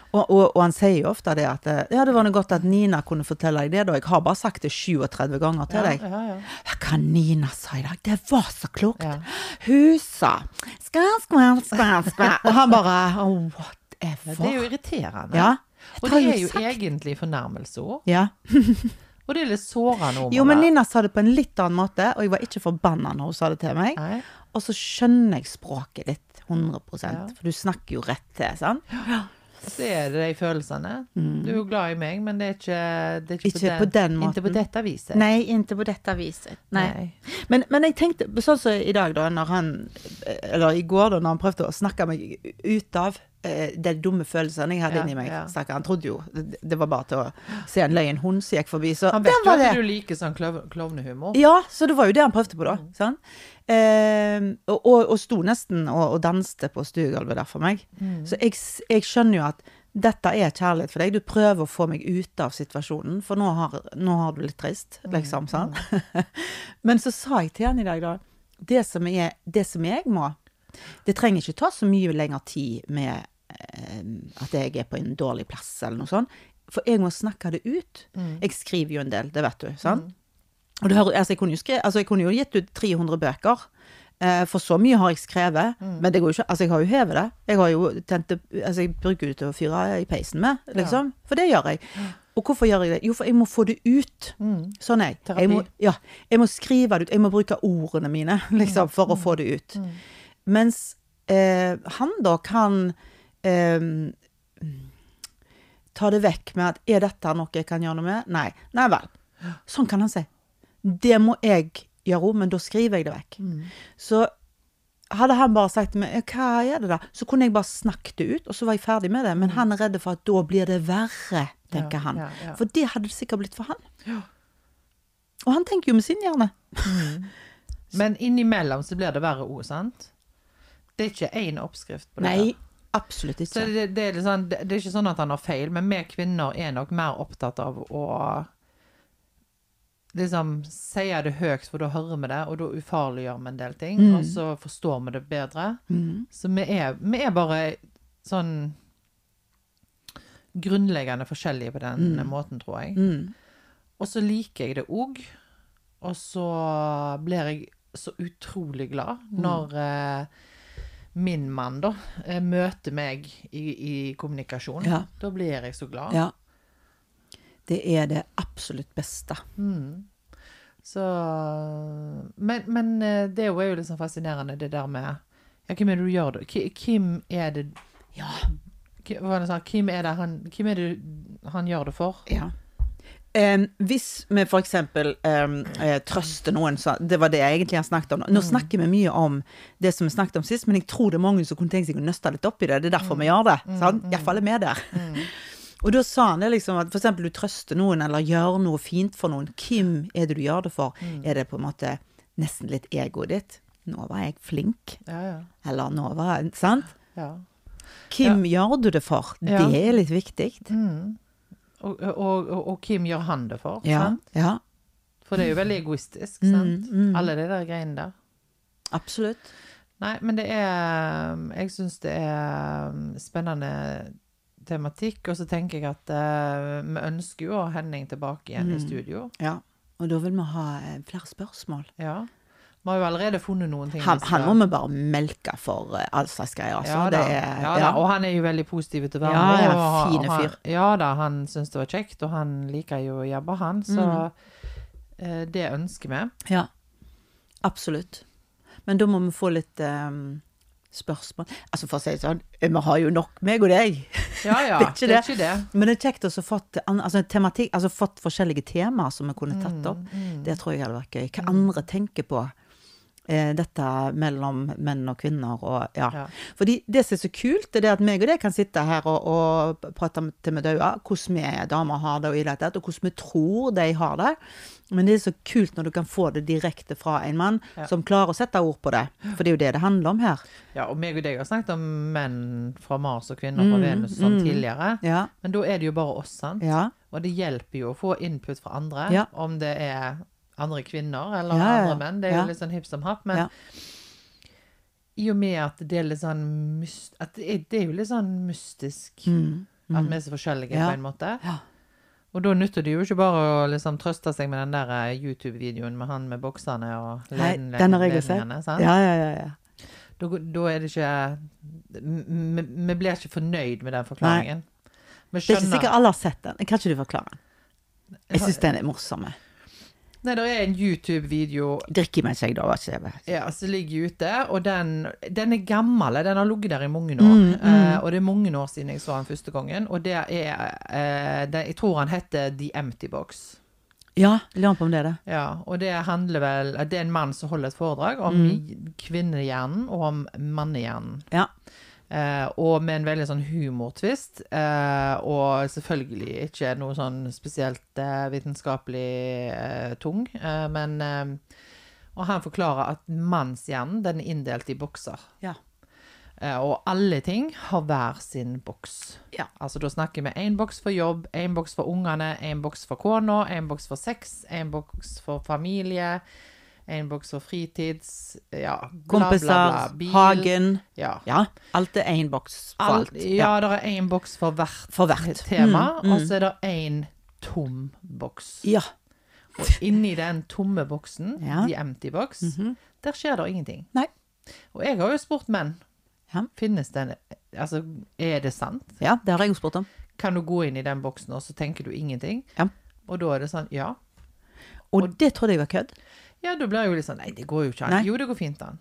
[SPEAKER 1] Og, og, og han sier jo ofte det at eh, Ja, det var nå godt at Nina kunne fortelle deg det, da. Jeg har bare sagt det 37 ganger til
[SPEAKER 2] Ja,
[SPEAKER 1] deg.
[SPEAKER 2] ja, ja.
[SPEAKER 1] Hva Nina sa i dag, det var så klokt.
[SPEAKER 2] Ja.
[SPEAKER 1] Hun sa skvæl, skvæl, skvæl, skvæl. Og han bare oh,
[SPEAKER 2] Det er
[SPEAKER 1] whatever.
[SPEAKER 2] jo irriterende.
[SPEAKER 1] Ja.
[SPEAKER 2] Og
[SPEAKER 1] har
[SPEAKER 2] det
[SPEAKER 1] jo
[SPEAKER 2] er jo
[SPEAKER 1] sagt-
[SPEAKER 2] egentlig fornærmelsesord.
[SPEAKER 1] Ja.
[SPEAKER 2] Og det er litt sårende ord.
[SPEAKER 1] Jo, men Nina sa det på en litt annen måte, og jeg var ikke forbanna når hun sa det til meg.
[SPEAKER 2] Nei.
[SPEAKER 1] Og så skjønner jeg språket ditt 100
[SPEAKER 2] Ja.
[SPEAKER 1] for du snakker jo rett til, sant?
[SPEAKER 2] Så er det de følelsene. Du er jo glad i meg, men det er ikke, det er
[SPEAKER 1] Mm. Ikke på den
[SPEAKER 2] Ikke på
[SPEAKER 1] måten.
[SPEAKER 2] dette viset.
[SPEAKER 1] Nei, ikke på dette viset. Nei. Men, men jeg tenkte, sånn som i dag, da, når han Eller i går, da, når han prøvde å snakke meg ut av eh, de dumme følelsene jeg hadde
[SPEAKER 2] Ja,
[SPEAKER 1] inni meg.
[SPEAKER 2] ja.
[SPEAKER 1] Stakkar. Han trodde jo det, det var bare til å se en løyen hund som gikk forbi, så
[SPEAKER 2] Han
[SPEAKER 1] der
[SPEAKER 2] vet jo
[SPEAKER 1] var det!
[SPEAKER 2] at du liker sånn klov- klovnehumor.
[SPEAKER 1] Ja, så det var jo det han prøvde på, da. sant? Ehm, og, og, og sto nesten og, og danste på stuegulvet der for meg. Så jeg, s- jeg skjønner jo at dette er kjærlighet for deg. Du prøver å få meg ut av situasjonen, for nå har, nå har du litt trist, liksom. sant? Men så sa jeg til han i dag, da det som, er, det som jeg må Det trenger ikke ta så mye lengre tid med eh, at jeg er på en dårlig plass, eller noe sånt. For jeg må snakke det ut. Jeg skriver jo en del, det vet du. sant? Og du hører, altså, jeg, kunne jo skre, altså, jeg kunne jo gitt ut 300 bøker, eh, for så mye har jeg skrevet. Men det går jo ikke, altså, jeg har jo hevet det. Jeg, har jo tent, det- altså, jeg bruker det til å fyre i peisen med, liksom. For det gjør jeg. Og hvorfor gjør jeg det? Jo, for jeg må få det ut. Sånn er jeg. Jeg må,
[SPEAKER 2] Terapi.
[SPEAKER 1] ja, jeg må skrive det ut. Jeg må bruke ordene mine, liksom, for å få det ut. Mens eh, han da kan eh, ta det vekk med at er dette noe jeg kan gjøre noe med? Nei. Nei vel. Sånn kan han si. Det må jeg gjøre om, men da skriver jeg det vekk.
[SPEAKER 2] Mm.
[SPEAKER 1] Så hadde han bare sagt til meg «Ja, hva er det da, så kunne jeg bare snakket det ut, og så var jeg ferdig med det. Men han er redd for at da blir det verre, tenker
[SPEAKER 2] Mm. Ja,
[SPEAKER 1] han.
[SPEAKER 2] ja, ja.
[SPEAKER 1] For det hadde det sikkert blitt for han.
[SPEAKER 2] Ja.
[SPEAKER 1] Og han tenker jo med sin hjerne.
[SPEAKER 2] Men innimellom så blir det verre ord, sant? Det er ikke én oppskrift på det.
[SPEAKER 1] Nei, absolutt
[SPEAKER 2] Så
[SPEAKER 1] ikke.
[SPEAKER 2] det, det, er litt sånn- det, det er ikke sånn at han har feil, men vi kvinner er nok mer opptatt av å liksom sier det høyt, for da hører vi det, og da ufarliggjør vi en del ting,
[SPEAKER 1] Mm.
[SPEAKER 2] og så forstår vi det bedre. Så vi er, vi er bare sånn grunnleggende forskjellige på den
[SPEAKER 1] Mm.
[SPEAKER 2] måten, tror jeg. Og så liker jeg det òg, og så blir jeg så utrolig glad
[SPEAKER 1] Mm.
[SPEAKER 2] når eh, min mann da eh, møter meg i, i kommunikasjon.
[SPEAKER 1] Ja.
[SPEAKER 2] Da blir jeg så glad.
[SPEAKER 1] Ja. Det er det absolutt beste.
[SPEAKER 2] Så Men, men eh, det er jo- er jo litt sånn fascinerende, det der med Ja, hvem er det du gjør det Ki- Hvem er det
[SPEAKER 1] Ja.
[SPEAKER 2] Hva var det han sa? Hvem er det han, hvem er det han gjør det for?
[SPEAKER 1] Ja. Em, hvis vi for eksempel em, eh, trøster noen, så det var det jeg egentlig har snakket om.
[SPEAKER 2] Mm.
[SPEAKER 1] Nå snakker vi mye om det som vi snakket om sist, men jeg tror det er mange som kunne tenkt seg å nøste litt opp i det. Det er
[SPEAKER 2] Mm.
[SPEAKER 1] derfor vi gjør det. sant? I hvert fall er vi der. Og da sa han det liksom at for eksempel du trøster noen eller gjør noe fint for noen. Hvem er det du gjør det for?
[SPEAKER 2] Mm.
[SPEAKER 1] Er det på en måte nesten litt egoet ditt? Nå var jeg flink.
[SPEAKER 2] Ja, ja.
[SPEAKER 1] Eller nå var jeg Sant?
[SPEAKER 2] ja.
[SPEAKER 1] Hvem gjør du det for?
[SPEAKER 2] Ja.
[SPEAKER 1] Det er litt viktig.
[SPEAKER 2] Mm. Og, og, og, og hvem gjør han det for?
[SPEAKER 1] Ja,
[SPEAKER 2] Sant?
[SPEAKER 1] ja,
[SPEAKER 2] For det er jo veldig egoistisk,
[SPEAKER 1] Mm,
[SPEAKER 2] sant? Alle de der greiene der.
[SPEAKER 1] absolutt.
[SPEAKER 2] Nei, men det er um, Jeg syns det er um, spennende tematikk, og så tenker jeg at eh, vi ønsker jo å ha Henning tilbake igjen
[SPEAKER 1] Mm.
[SPEAKER 2] i studio.
[SPEAKER 1] Ja, og da vil vi ha eh, flere spørsmål.
[SPEAKER 2] Ja. Vi har jo allerede funnet noen ting.
[SPEAKER 1] Han,
[SPEAKER 2] vi skal-
[SPEAKER 1] han må vi bare melke for eh, all slags greier. Altså.
[SPEAKER 2] ja, da.
[SPEAKER 1] det er,
[SPEAKER 2] ja, da. Og han er jo veldig positiv til å være
[SPEAKER 1] Ja,
[SPEAKER 2] med,
[SPEAKER 1] ja,
[SPEAKER 2] og-
[SPEAKER 1] fine
[SPEAKER 2] og han-
[SPEAKER 1] fyr.
[SPEAKER 2] Ja da, han syns det var kjekt, og han liker jo å jobbe, han. Så
[SPEAKER 1] Mm.
[SPEAKER 2] eh, det ønsker vi.
[SPEAKER 1] ja. Absolutt. Men da må vi få litt eh, spørsmål. Altså, for å si det sånn, eh, vi har jo nok, meg og deg.
[SPEAKER 2] Ja ja,
[SPEAKER 1] Det er ikke
[SPEAKER 2] det er
[SPEAKER 1] det.
[SPEAKER 2] ikke det.
[SPEAKER 1] Men det er kjekt også å fått, an- altså, tematikk, altså, fått forskjellige temaer som vi kunne
[SPEAKER 2] Mm.
[SPEAKER 1] tatt opp. Det tror jeg hadde vært gøy. Hva andre tenker på eh, dette mellom menn og kvinner og ja.
[SPEAKER 2] Ja.
[SPEAKER 1] Fordi det som er så kult, det er det at meg og deg kan sitte her og, og prate om- til vi dauer, hvordan vi damer har det og i det hele tatt, og hvordan vi tror de har det. Men det er så kult når du kan få det direkte fra en mann som klarer å sette ord på det. For det er jo det det handler om her.
[SPEAKER 2] Ja, og meg og deg har snakket om menn fra Mars og kvinner fra Venus sånn tidligere.
[SPEAKER 1] Ja.
[SPEAKER 2] Men da er det jo bare oss, sant?
[SPEAKER 1] Mm, Ja.
[SPEAKER 2] Og det hjelper jo å få input fra andre,
[SPEAKER 1] Ja.
[SPEAKER 2] om det er andre kvinner eller
[SPEAKER 1] Ja, ja, ja.
[SPEAKER 2] andre menn. Det er
[SPEAKER 1] Ja.
[SPEAKER 2] jo litt sånn hipp som happ, men
[SPEAKER 1] Ja.
[SPEAKER 2] i og med at det er litt sånn mys- at det, er, det er jo litt sånn mystisk at vi er så forskjellige
[SPEAKER 1] Mm, Ja.
[SPEAKER 2] på en måte.
[SPEAKER 1] Ja.
[SPEAKER 2] Og da nytter det jo ikke bare å liksom trøste seg med den der eh, YouTube-videoen med han med boksene og
[SPEAKER 1] Nei,
[SPEAKER 2] leden-
[SPEAKER 1] den har jeg jo sett.
[SPEAKER 2] ledningene, sant?
[SPEAKER 1] Ja, ja, ja. ja.
[SPEAKER 2] Da, da er det ikke m- m- Vi blir ikke fornøyd med den forklaringen. Vi
[SPEAKER 1] Det er ikke
[SPEAKER 2] skjønner
[SPEAKER 1] sikkert alle har sett den. Kan ikke du forklare den? Jeg syns den er morsom. jeg.
[SPEAKER 2] Nei, det er en YouTube-video
[SPEAKER 1] Drikker mens jeg da var skjeve.
[SPEAKER 2] Ja, som ligger ute, og den, den er gammel. Den har ligget der i mange år.
[SPEAKER 1] Mm,
[SPEAKER 2] Eh, og det er mange år siden jeg så den første gangen. Og det er eh, det, Jeg tror han heter The Empty Box.
[SPEAKER 1] Ja, lurer på om det er det.
[SPEAKER 2] Ja, og det handler vel eh, Det er en mann som holder et foredrag om kvinnehjernen og om mannehjernen.
[SPEAKER 1] Ja.
[SPEAKER 2] Eh, og med en veldig sånn humortvist. Eh, og selvfølgelig ikke noe sånn spesielt eh, vitenskapelig eh, tung. Eh, men eh, Og han forklarer at mannshjernen den er inndelt i bokser.
[SPEAKER 1] Ja.
[SPEAKER 2] Eh, og alle ting har hver sin boks.
[SPEAKER 1] Ja.
[SPEAKER 2] Altså da snakker vi én boks for jobb, én boks for ungene, én boks for kona, én boks for sex, én boks for familie, én boks for fritids Ja, bla,
[SPEAKER 1] Kompiser,
[SPEAKER 2] bla, bla. Bil.
[SPEAKER 1] hagen.
[SPEAKER 2] Ja.
[SPEAKER 1] Ja. Alt er én boks for
[SPEAKER 2] Alt,
[SPEAKER 1] alt.
[SPEAKER 2] ja, det er én boks for hvert
[SPEAKER 1] For hvert. Mm,
[SPEAKER 2] tema, og så er det én tom boks.
[SPEAKER 1] Ja.
[SPEAKER 2] Og inni den tomme boksen,
[SPEAKER 1] Ja. Mhm.
[SPEAKER 2] the empty box, der skjer det ingenting.
[SPEAKER 1] Nei.
[SPEAKER 2] Og jeg har jo spurt menn.
[SPEAKER 1] Ja.
[SPEAKER 2] Finnes den Altså, er det sant?
[SPEAKER 1] ja, det har jeg jo spurt om.
[SPEAKER 2] Kan du gå inn i den boksen, og så tenker du ingenting?
[SPEAKER 1] Ja.
[SPEAKER 2] Og da er det sånn, ja.
[SPEAKER 1] Og det trodde jeg var kødd.
[SPEAKER 2] Ja, da blir jeg jo litt sånn Nei, det går jo ikke an.
[SPEAKER 1] Nei.
[SPEAKER 2] Jo, det går fint an.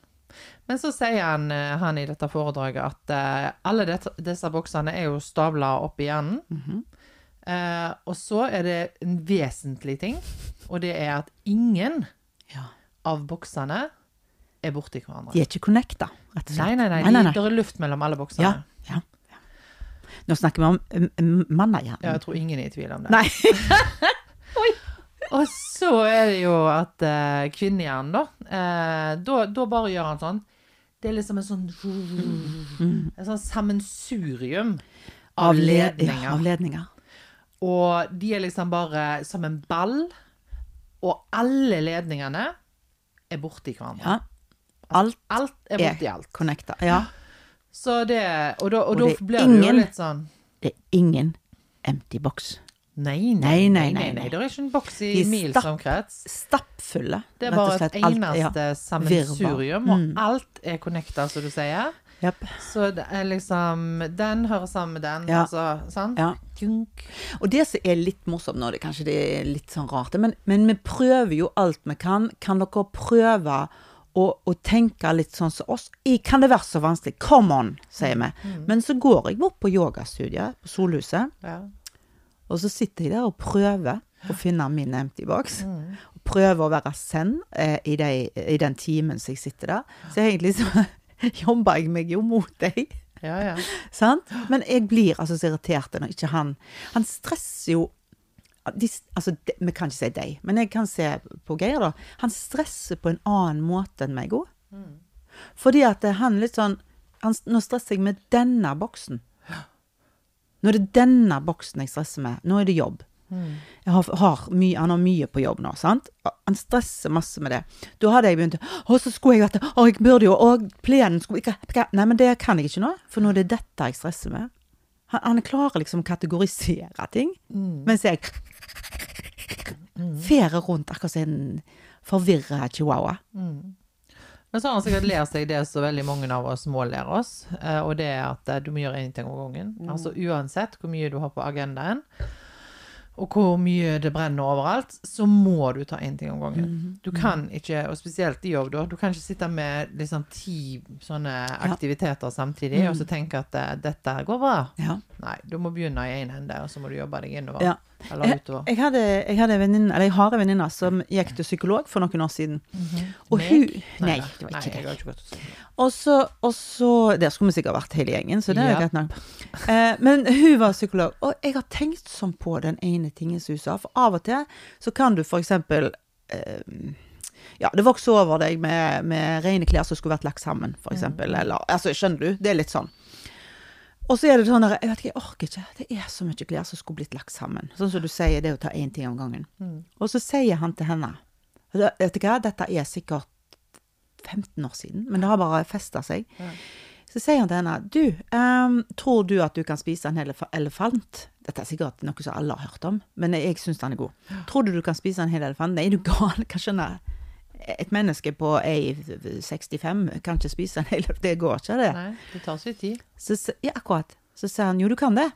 [SPEAKER 2] Men så sier han, eh, han i dette foredraget at eh, alle dette, disse boksene er jo stabla opp i hjernen.
[SPEAKER 1] Mhm.
[SPEAKER 2] eh, og så er det en vesentlig ting, og det er at ingen
[SPEAKER 1] Ja.
[SPEAKER 2] av boksene er borti hverandre.
[SPEAKER 1] De er ikke connecta, rett og slett.
[SPEAKER 2] Nei, nei, nei.
[SPEAKER 1] Nei, nei, nei.
[SPEAKER 2] Det er luft mellom alle boksene.
[SPEAKER 1] Ja. ja. Nå snakker vi om mm, mm,
[SPEAKER 2] Ja,
[SPEAKER 1] mannehjernen.
[SPEAKER 2] jeg tror ingen er i tvil om det.
[SPEAKER 1] Nei.
[SPEAKER 2] Og så er det jo at eh, kvinnehjernen, da, eh, da Da bare gjør han sånn. Det er liksom en sånn
[SPEAKER 1] Mm.
[SPEAKER 2] En sånn sammensurium av
[SPEAKER 1] Avled- Ja,
[SPEAKER 2] ledninger.
[SPEAKER 1] avledninger.
[SPEAKER 2] Og de er liksom bare som en ball. Og alle ledningene er borti hverandre.
[SPEAKER 1] Ja. Alt
[SPEAKER 2] Alt er
[SPEAKER 1] er
[SPEAKER 2] borti alt.
[SPEAKER 1] connecta. Ja.
[SPEAKER 2] Så det Og da, og
[SPEAKER 1] Og
[SPEAKER 2] da
[SPEAKER 1] det er
[SPEAKER 2] blir det jo
[SPEAKER 1] ingen-
[SPEAKER 2] litt sånn
[SPEAKER 1] Det er ingen empty box.
[SPEAKER 2] Nei,
[SPEAKER 1] Nei, nei, nei, nei.
[SPEAKER 2] Det er ikke en boks i
[SPEAKER 1] De er
[SPEAKER 2] mils
[SPEAKER 1] stapp-
[SPEAKER 2] omkrets.
[SPEAKER 1] Stappfulle.
[SPEAKER 2] Det er
[SPEAKER 1] rett og
[SPEAKER 2] bare et
[SPEAKER 1] slett. Alt- Mm.
[SPEAKER 2] eneste sammensurium, og alt er connecta, som du sier.
[SPEAKER 1] Ja. Jep.
[SPEAKER 2] Så det er liksom Den hører sammen med den,
[SPEAKER 1] Ja.
[SPEAKER 2] altså. Sant?
[SPEAKER 1] Ja.
[SPEAKER 2] Junk.
[SPEAKER 1] Og det som er litt morsomt nå, det kanskje det er litt sånn rart, men, men vi prøver jo alt vi kan. Kan dere prøve å, å tenke litt sånn som oss? I- Kan det være så vanskelig? Come on, sier vi. Men så går jeg bort på yogastudiet på Solhuset,
[SPEAKER 2] Ja.
[SPEAKER 1] og så sitter jeg der og prøver å finne min empty box. Og prøver å være zen eh, i, de, i den timen som jeg sitter der. Så egentlig så jobber jeg meg jo mot deg.
[SPEAKER 2] ja, ja.
[SPEAKER 1] Sant? Men jeg blir altså så irritert når ikke han Han stresser jo de, altså, de, Vi kan ikke si deg, men jeg kan se på Geir, da. Han stresser på en annen måte enn meg òg. Fordi at eh, han litt sånn han, Nå stresser jeg med denne boksen. Nå er det denne boksen jeg stresser med. Nå er det jobb.
[SPEAKER 2] Mm.
[SPEAKER 1] Jeg har, har mye, han har mye på jobb nå, sant? Han stresser masse med det. Da hadde jeg begynt Å, så skulle jeg vært Å, jeg burde jo Å, plenen skulle ikke ikke- Nei, men det kan jeg ikke nå, for nå er det dette jeg stresser med. Han, han klarer liksom å kategorisere ting,
[SPEAKER 2] Mm.
[SPEAKER 1] mens jeg ferer rundt akkurat som en forvirra chihuahua.
[SPEAKER 2] Men så har han sikkert lært seg det som veldig mange av oss må lære oss, eh, og det er at eh, du må gjøre én ting om gangen.
[SPEAKER 1] Mm.
[SPEAKER 2] Altså uansett hvor mye du har på agendaen, og hvor mye det brenner overalt, så må du ta én ting om gangen.
[SPEAKER 1] Mhm.
[SPEAKER 2] Du
[SPEAKER 1] Mm.
[SPEAKER 2] kan ikke, og spesielt i jobb, da, du kan ikke sitte med liksom ti sånne aktiviteter samtidig og
[SPEAKER 1] Mm.
[SPEAKER 2] så tenke at eh, dette går bra.
[SPEAKER 1] Ja.
[SPEAKER 2] Nei, du må begynne i én ende, og så må du jobbe deg innover.
[SPEAKER 1] Ja. Eh,
[SPEAKER 2] Eller utover.
[SPEAKER 1] Jeg hadde, jeg hadde en venninne, eller jeg har en venninne, som gikk til psykolog for noen år siden. Og
[SPEAKER 2] Mhm. Meg?
[SPEAKER 1] hun eh, Nei,
[SPEAKER 2] nei,
[SPEAKER 1] det var
[SPEAKER 2] nei,
[SPEAKER 1] ikke
[SPEAKER 2] jeg
[SPEAKER 1] deg.
[SPEAKER 2] har ikke gått til psykolog.
[SPEAKER 1] Og så, og så Der skulle vi sikkert vært hele gjengen, så det er jo
[SPEAKER 2] Ja.
[SPEAKER 1] greit nok. Eh, men hun var psykolog, og jeg har tenkt sånn på den ene tingen som hun sa. For av og til så kan du for eksempel eh, Ja, det vokser over deg med, med rene klær som skulle vært lagt sammen, for eksempel. Eller altså, skjønner du? Det er litt sånn. Og så er det sånn der, jeg vet ikke, jeg orker ikke. Det er så mye klær som skulle blitt lagt sammen. Sånn som du sier, det er å ta én ting om gangen. Og så sier han til henne Vet du hva, dette er sikkert 15 år siden, men det har bare festa seg. Så sier han til henne Du, ehm, tror du at du kan spise en hel elef- elefant? Dette er sikkert noe som alle har hørt om, men jeg syns den er god. Tror du du kan spise en hel elefant? Nei, er du gal? Hva skjønner jeg? Et menneske på ei 65 kan ikke spise en hel elefant. Det går ikke, det.
[SPEAKER 2] Nei, det tar sin tid.
[SPEAKER 1] Så, s- ja, akkurat. Så sier han jo, du kan det.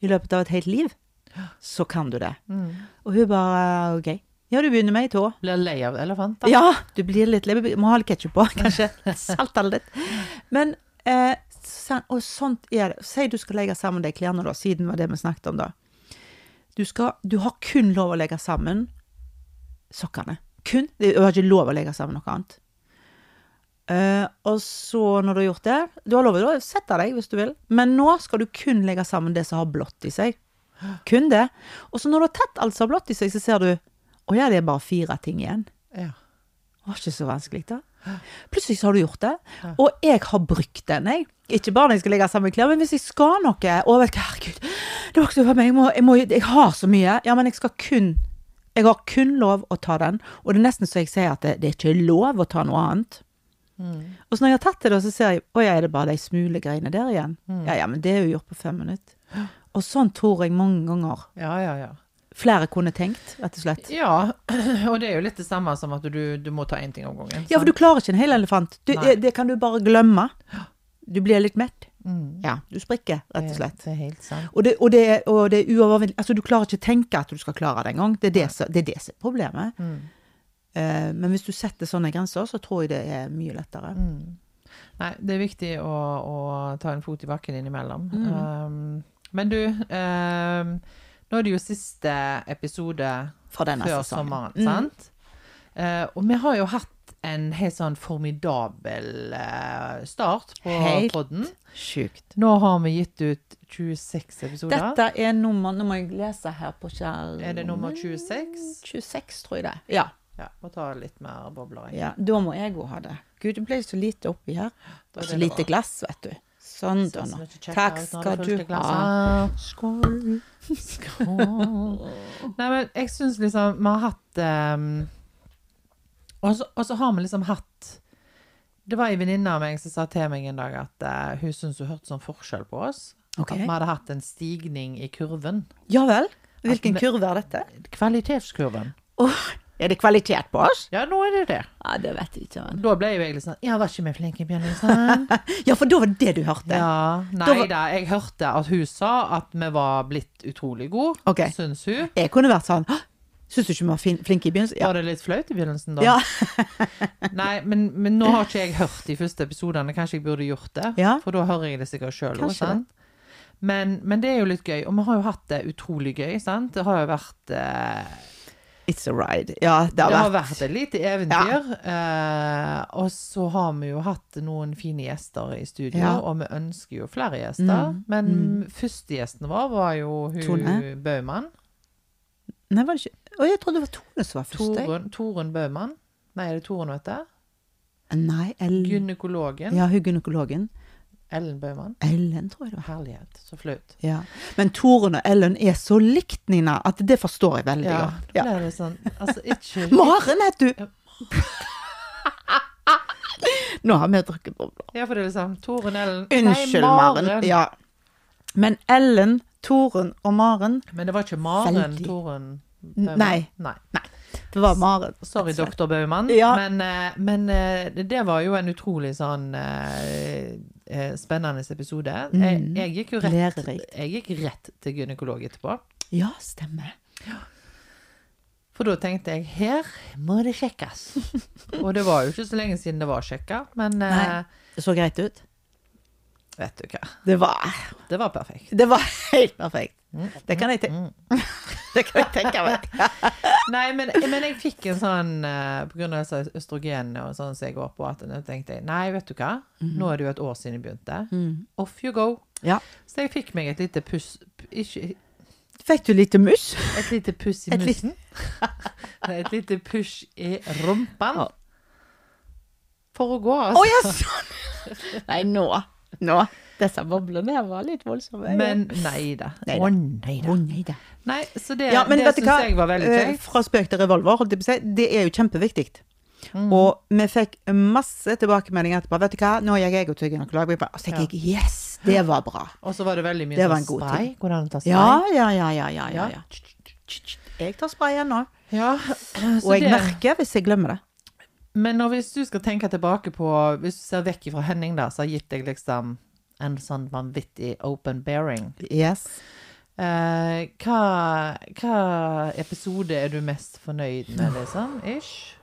[SPEAKER 1] i løpet av et helt liv, så kan du det.
[SPEAKER 2] Mm.
[SPEAKER 1] Og hun bare OK. Ja, du begynner med ei tå.
[SPEAKER 2] Blir lei av elefanter.
[SPEAKER 1] Ja, du blir litt lei. Må ha litt ketsjup på, kanskje. Salte det litt. Men eh, sa- Og sånt er det. Si du skal legge sammen de klærne, da, siden det var det vi snakket om, da. Du, skal, du har kun lov å legge sammen sokkene. Kun. Du har ikke lov å legge sammen noe annet. Eh, og så, når du har gjort det Du har lov til å sette deg hvis du vil, men nå skal du kun legge sammen det som har blått i seg. Kun det. Og så når du har tatt alt som har blått i seg, så ser du Å ja, det er bare fire ting igjen.
[SPEAKER 2] Ja.
[SPEAKER 1] Det var ikke så vanskelig, da. Plutselig så har du gjort det. Og jeg har brukt den, jeg. Ikke bare når jeg skal legge sammen klær, men hvis jeg skal noe Å, vet du hva, herregud, det var ikke for meg, jeg, må, jeg, må, jeg har så mye. Ja, men jeg skal kun Jeg har kun lov å ta den. Og det er nesten så jeg sier at det, det er ikke lov å ta noe annet.
[SPEAKER 2] Mm.
[SPEAKER 1] Og så når jeg har tatt det, da, så ser jeg Å ja, er det bare de smulegreiene der igjen? Ja ja, men det er jo gjort på fem minutter. Og sånn tror jeg mange ganger
[SPEAKER 2] ja, ja, ja.
[SPEAKER 1] flere kunne tenkt, rett og slett.
[SPEAKER 2] Ja, og det er jo litt det samme som at du, du må ta én ting om gangen.
[SPEAKER 1] Ja, for du klarer ikke en hel elefant. Du,
[SPEAKER 2] Sånn.
[SPEAKER 1] eh,
[SPEAKER 2] Nei.
[SPEAKER 1] det kan du bare glemme. Du blir litt mett.
[SPEAKER 2] Mm.
[SPEAKER 1] Ja, du sprikker, rett og slett.
[SPEAKER 2] Det er helt sant.
[SPEAKER 1] Og det, og det, og det er uovervinnelig. Altså, du klarer ikke å tenke at du skal klare det engang. Det er det, som- det er det som er problemet.
[SPEAKER 2] Mm.
[SPEAKER 1] Eh, men hvis du setter sånne grenser, så tror jeg det er mye lettere.
[SPEAKER 2] Mm. Nei, det er viktig å, å ta en fot i bakken innimellom. Um, men du, um, nå er det jo siste episode
[SPEAKER 1] Fra denne
[SPEAKER 2] før
[SPEAKER 1] sesongen.
[SPEAKER 2] sommeren, sant? Eh, og vi har jo hatt en helt sånn formidabel eh, start på
[SPEAKER 1] Helt.
[SPEAKER 2] podden.
[SPEAKER 1] Sjukt.
[SPEAKER 2] Nå har vi gitt ut 26 episoder.
[SPEAKER 1] Dette er nummer Nå må jeg lese her på skjermen.
[SPEAKER 2] Er det nummer 26?
[SPEAKER 1] 26, tror jeg det. Ja.
[SPEAKER 2] Ja, må ta litt mer bobler. jeg.
[SPEAKER 1] ja. Da må jeg òg ha det. Gud, det ble så lite oppi her.
[SPEAKER 2] Da
[SPEAKER 1] Og
[SPEAKER 2] er
[SPEAKER 1] så
[SPEAKER 2] det
[SPEAKER 1] lite
[SPEAKER 2] bra.
[SPEAKER 1] glass, vet du. Sånn,
[SPEAKER 2] Så-
[SPEAKER 1] da.
[SPEAKER 2] så
[SPEAKER 1] nå.
[SPEAKER 2] må ikke sjekke
[SPEAKER 1] Takk
[SPEAKER 2] ut når
[SPEAKER 1] skal
[SPEAKER 2] det
[SPEAKER 1] du
[SPEAKER 2] første
[SPEAKER 1] ha.
[SPEAKER 2] glasset.
[SPEAKER 1] Skål.
[SPEAKER 2] Åh. Nei, men jeg syns liksom Vi har hatt ehm, og, så, og så har vi liksom hatt Det var ei venninne av meg som sa til meg en dag at eh, hun syntes hun hørte sånn forskjell på oss.
[SPEAKER 1] Ok.
[SPEAKER 2] At vi hadde hatt en stigning i kurven.
[SPEAKER 1] Ja vel? Hvilken
[SPEAKER 2] At vi-
[SPEAKER 1] kurve er dette?
[SPEAKER 2] Kvalitetskurven.
[SPEAKER 1] er det kvalitet på oss?
[SPEAKER 2] Ja, nå er det det.
[SPEAKER 1] Ja, det vet jeg ikke.
[SPEAKER 2] Da ble jo jeg litt sånn Ja, var ikke vi flinke, Bjørn Lindsen?
[SPEAKER 1] Ja, for da var det det du hørte.
[SPEAKER 2] ja.
[SPEAKER 1] Da
[SPEAKER 2] Nei
[SPEAKER 1] var-
[SPEAKER 2] da. Jeg hørte at hun sa at vi var blitt utrolig gode,
[SPEAKER 1] Ok.
[SPEAKER 2] syns hun.
[SPEAKER 1] Jeg kunne vært sånn «Hå! Syns du ikke vi var fin flinke i begynnelsen? Ja.
[SPEAKER 2] Var det litt flaut i begynnelsen, da?
[SPEAKER 1] Ja.
[SPEAKER 2] Nei, men, men nå har ikke jeg hørt de første episodene. Kanskje jeg burde gjort det?
[SPEAKER 1] Ja.
[SPEAKER 2] For da hører jeg det sikkert sjøl òg,
[SPEAKER 1] Kanskje
[SPEAKER 2] sant? Men, men det er jo litt gøy. Og vi har jo hatt det utrolig gøy, sant? Det har jo vært eh,
[SPEAKER 1] It's a ride. Ja, det
[SPEAKER 2] Det
[SPEAKER 1] har vært
[SPEAKER 2] et lite eventyr. Eh, og så har vi jo hatt noen fine gjester i studio,
[SPEAKER 1] Ja. Mm.
[SPEAKER 2] og vi ønsker jo flere gjester. Men førstegjesten vår var jo hun
[SPEAKER 1] Tone.
[SPEAKER 2] Baumann.
[SPEAKER 1] Nei, var det ikke Å, jeg trodde det var Tone som var først. jeg.
[SPEAKER 2] Torunn Torunn Baumann. Nei, er det Torunn hun heter?
[SPEAKER 1] Nei, Ellen
[SPEAKER 2] Gynekologen.
[SPEAKER 1] Mm. Ja, hun gynekologen.
[SPEAKER 2] Ellen Baumann.
[SPEAKER 1] Ellen, tror jeg det var.
[SPEAKER 2] Herlighet, så flaut.
[SPEAKER 1] Ja. Men Torunn og Ellen er så likt, Nina, at det forstår jeg veldig
[SPEAKER 2] Ja,
[SPEAKER 1] godt.
[SPEAKER 2] da
[SPEAKER 1] Ja.
[SPEAKER 2] ble det sånn Altså, ikke
[SPEAKER 1] Maren heter du! Nå har vi drukket bobler.
[SPEAKER 2] Ja, for det er liksom Torunn Ellen
[SPEAKER 1] Unnskyld, Maren. Ja. Men Ellen, Torunn og Maren
[SPEAKER 2] Men det var ikke Maren
[SPEAKER 1] Veldig.
[SPEAKER 2] Torunn
[SPEAKER 1] N- nei.
[SPEAKER 2] Nei.
[SPEAKER 1] Det var Maren.
[SPEAKER 2] Sorry, doktor Baumann.
[SPEAKER 1] Ja.
[SPEAKER 2] Men, eh, men eh, det- det var jo en utrolig sånn eh, eh, spennende episode. Jeg, jeg gikk jo rett,
[SPEAKER 1] Mm. Lærerikt.
[SPEAKER 2] jeg gikk rett til gynekolog etterpå.
[SPEAKER 1] Ja, stemmer.
[SPEAKER 2] For da tenkte jeg her må det sjekkes. Og det var jo ikke så lenge siden det var sjekka, men eh,
[SPEAKER 1] Nei. Det så greit ut.
[SPEAKER 2] vet du hva.
[SPEAKER 1] Det var,
[SPEAKER 2] Det var perfekt.
[SPEAKER 1] det var helt perfekt. Det kan jeg, ten det kan jeg tenke meg.
[SPEAKER 2] Nei, men, men jeg fikk en sånn eh, På grunn av disse østrogenene og sånn som jeg går på, at nå tenkte jeg nei, vet du hva, nå er det jo et år siden jeg begynte. Off you go.
[SPEAKER 1] Mhm. Mm. Ja.
[SPEAKER 2] Så jeg fikk meg et lite puss p- ikke,
[SPEAKER 1] Fikk du lite mus?
[SPEAKER 2] Et lite puss i
[SPEAKER 1] Et lite-
[SPEAKER 2] mussen. Nei, et lite push i rumpan.
[SPEAKER 1] Ja.
[SPEAKER 2] For å gå,
[SPEAKER 1] Å
[SPEAKER 2] altså.
[SPEAKER 1] ja, sånn! Nei, nå. Nå. Disse boblene her var litt voldsomme.
[SPEAKER 2] Men nei da.
[SPEAKER 1] Nei da.
[SPEAKER 2] Å nei
[SPEAKER 1] Å
[SPEAKER 2] da.
[SPEAKER 1] nei da.
[SPEAKER 2] Nei, så det,
[SPEAKER 1] Ja, men
[SPEAKER 2] det
[SPEAKER 1] vet du
[SPEAKER 2] syns
[SPEAKER 1] hva?
[SPEAKER 2] jeg var veldig
[SPEAKER 1] Eh,
[SPEAKER 2] kjekt.
[SPEAKER 1] Fra spøk til revolver, holdt jeg på å si. Det er jo kjempeviktig.
[SPEAKER 2] Mm.
[SPEAKER 1] Og vi fikk masse tilbakemeldinger etterpå. Vet du hva, nå gikk jeg og til gynekolog. Og så tenkte jeg yes, det var bra.
[SPEAKER 2] Og så var det veldig mye
[SPEAKER 1] det var
[SPEAKER 2] sånn
[SPEAKER 1] en god
[SPEAKER 2] spray. Går det an å ta spray?
[SPEAKER 1] Ja, ja, ja, ja, ja. ja,
[SPEAKER 2] Ja.
[SPEAKER 1] ja. Jeg tar sprayen nå.
[SPEAKER 2] Ja, så
[SPEAKER 1] Og jeg
[SPEAKER 2] det-
[SPEAKER 1] merker hvis jeg glemmer det.
[SPEAKER 2] Men når, hvis du skal tenke tilbake på Hvis du ser vekk fra Henning, da, som har gitt deg liksom en sånn vanvittig open bearing
[SPEAKER 1] Yes.
[SPEAKER 2] eh, Eh, hva, hva episode er du mest fornøyd med, liksom? Ish?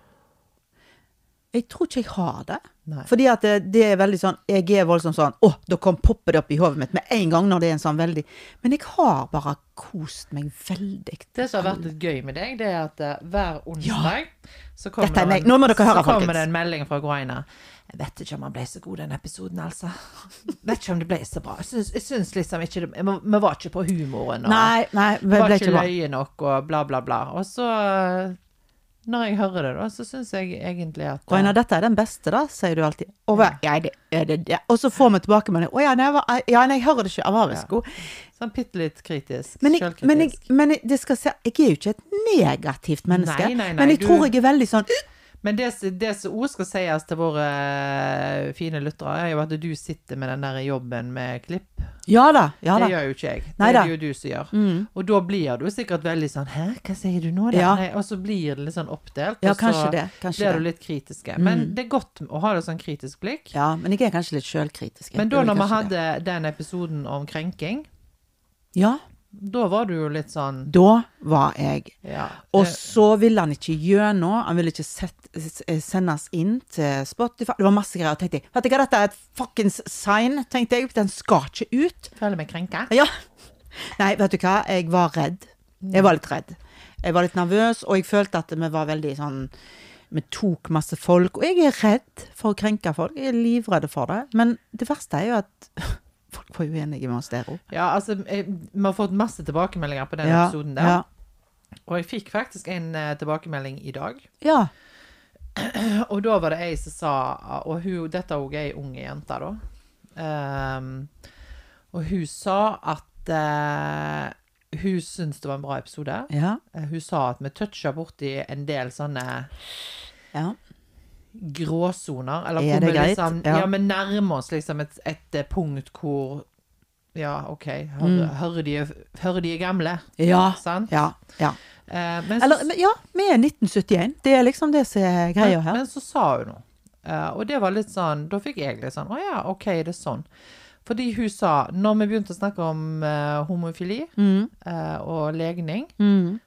[SPEAKER 1] Jeg tror ikke jeg har det.
[SPEAKER 2] Nei.
[SPEAKER 1] Fordi at det, det er veldig sånn Jeg er voldsomt sånn Å, da kom popper det opp i hodet mitt med en gang når det er en sånn veldig Men jeg har bare kost meg veldig.
[SPEAKER 2] Det som har vært litt gøy med deg, det er at eh, hver onsdag så kommer,
[SPEAKER 1] Dette er
[SPEAKER 2] det en,
[SPEAKER 1] meg. Nå må dere høre,
[SPEAKER 2] så kommer
[SPEAKER 1] folkens.
[SPEAKER 2] det en melding fra Guaina. Jeg vet ikke om han ble så god, den episoden, altså. Jeg vet ikke om det ble så bra. Jeg syns, jeg syns liksom ikke det Vi vi var ikke på humoren. Og,
[SPEAKER 1] Nei, nei, det
[SPEAKER 2] var
[SPEAKER 1] ble
[SPEAKER 2] ikke
[SPEAKER 1] ikke bra.
[SPEAKER 2] løye nok, og bla, bla, bla. Og så, eh, når jeg hører det, da, så syns jeg egentlig at eh,
[SPEAKER 1] Rainer, dette er den beste, da, sier du alltid. Og, hva- ja, det, er det, det. og så får vi tilbakemelding. Å ja, nei, jeg var- ja, nei, jeg hører det ikke. Jeg var visst god.
[SPEAKER 2] Sånn bitte litt kritisk.
[SPEAKER 1] Men, jeg,
[SPEAKER 2] selvkritisk.
[SPEAKER 1] men, jeg, men jeg, det skal se, jeg er jo ikke et negativt menneske.
[SPEAKER 2] Nei, nei, nei,
[SPEAKER 1] men jeg
[SPEAKER 2] du-
[SPEAKER 1] tror jeg er veldig sånn
[SPEAKER 2] Men det, s- det som òg skal sies til våre eh, fine lyttere, er jo at du sitter med den der jobben med klipp.
[SPEAKER 1] Ja da, ja
[SPEAKER 2] Det
[SPEAKER 1] da.
[SPEAKER 2] gjør jo ikke jeg. Det
[SPEAKER 1] Neida. Mm.
[SPEAKER 2] er det jo du som gjør. Og da blir du sikkert veldig sånn Hæ, hva sier du nå? da?»
[SPEAKER 1] Ja.
[SPEAKER 2] Nei, Og så blir det litt sånn oppdelt.
[SPEAKER 1] Ja,
[SPEAKER 2] og så
[SPEAKER 1] kanskje det. Kanskje
[SPEAKER 2] blir du
[SPEAKER 1] det. Mm.
[SPEAKER 2] litt kritiske. Men det er godt å ha det sånn kritisk blikk.
[SPEAKER 1] Ja, men jeg er kanskje litt sjølkritisk. jeg.
[SPEAKER 2] Men da
[SPEAKER 1] Det er vel
[SPEAKER 2] når vi
[SPEAKER 1] kanskje det.
[SPEAKER 2] hadde den episoden om krenking,
[SPEAKER 1] Ja,
[SPEAKER 2] da var du jo litt sånn
[SPEAKER 1] da var jeg
[SPEAKER 2] Ja.
[SPEAKER 1] Og
[SPEAKER 2] eh,
[SPEAKER 1] så ville han ikke gjøre noe. Han ville ikke sett, s- sendes inn til Spotify. Det var masse greier. tenkte jeg, Vet du hva, dette er et fuckings sign, tenkte jeg. Den skal ikke ut.
[SPEAKER 2] Føler meg krenka.
[SPEAKER 1] Ja. Nei, vet du hva? Jeg var redd. Jeg var litt redd. Jeg var litt nervøs, og jeg følte at vi var veldig sånn Vi tok masse folk. Og jeg er redd for å krenke folk. Jeg er livredd for det. Men det verste er jo at folk var jo enige med oss der òg.
[SPEAKER 2] Ja, altså, eh, vi har fått masse tilbakemeldinger på den episoden der.
[SPEAKER 1] ja.
[SPEAKER 2] Og jeg fikk faktisk en eh, tilbakemelding i dag.
[SPEAKER 1] Ja.
[SPEAKER 2] Og da var det ei som sa Og hun, dette er òg ei ung jente, da. Ehm, og hun sa at eh, hun syntes det var en bra episode.
[SPEAKER 1] Ja.
[SPEAKER 2] Eh, Hun sa at vi toucha borti en del sånne
[SPEAKER 1] ja.
[SPEAKER 2] gråsoner. Eller
[SPEAKER 1] Er
[SPEAKER 2] hvor
[SPEAKER 1] det
[SPEAKER 2] vi
[SPEAKER 1] greit?
[SPEAKER 2] liksom
[SPEAKER 1] Ja.
[SPEAKER 2] Ja, vi nærmer oss liksom et, et eh, punkt hvor Ja, OK, hører, hører, de, hører de er gamle?
[SPEAKER 1] Mm. Ja.
[SPEAKER 2] Sant?
[SPEAKER 1] ja. ja.
[SPEAKER 2] Eh, men så-
[SPEAKER 1] Eller, men ja, vi er 1971. Det er liksom det som er greia
[SPEAKER 2] men,
[SPEAKER 1] her.
[SPEAKER 2] men så sa hun noe. Eh, og det var litt sånn, da fikk jeg litt sånn, å ja, ok, det er sånn. Fordi hun sa, når vi begynte å snakke om eh, homofili
[SPEAKER 1] Mm.
[SPEAKER 2] eh, og legning,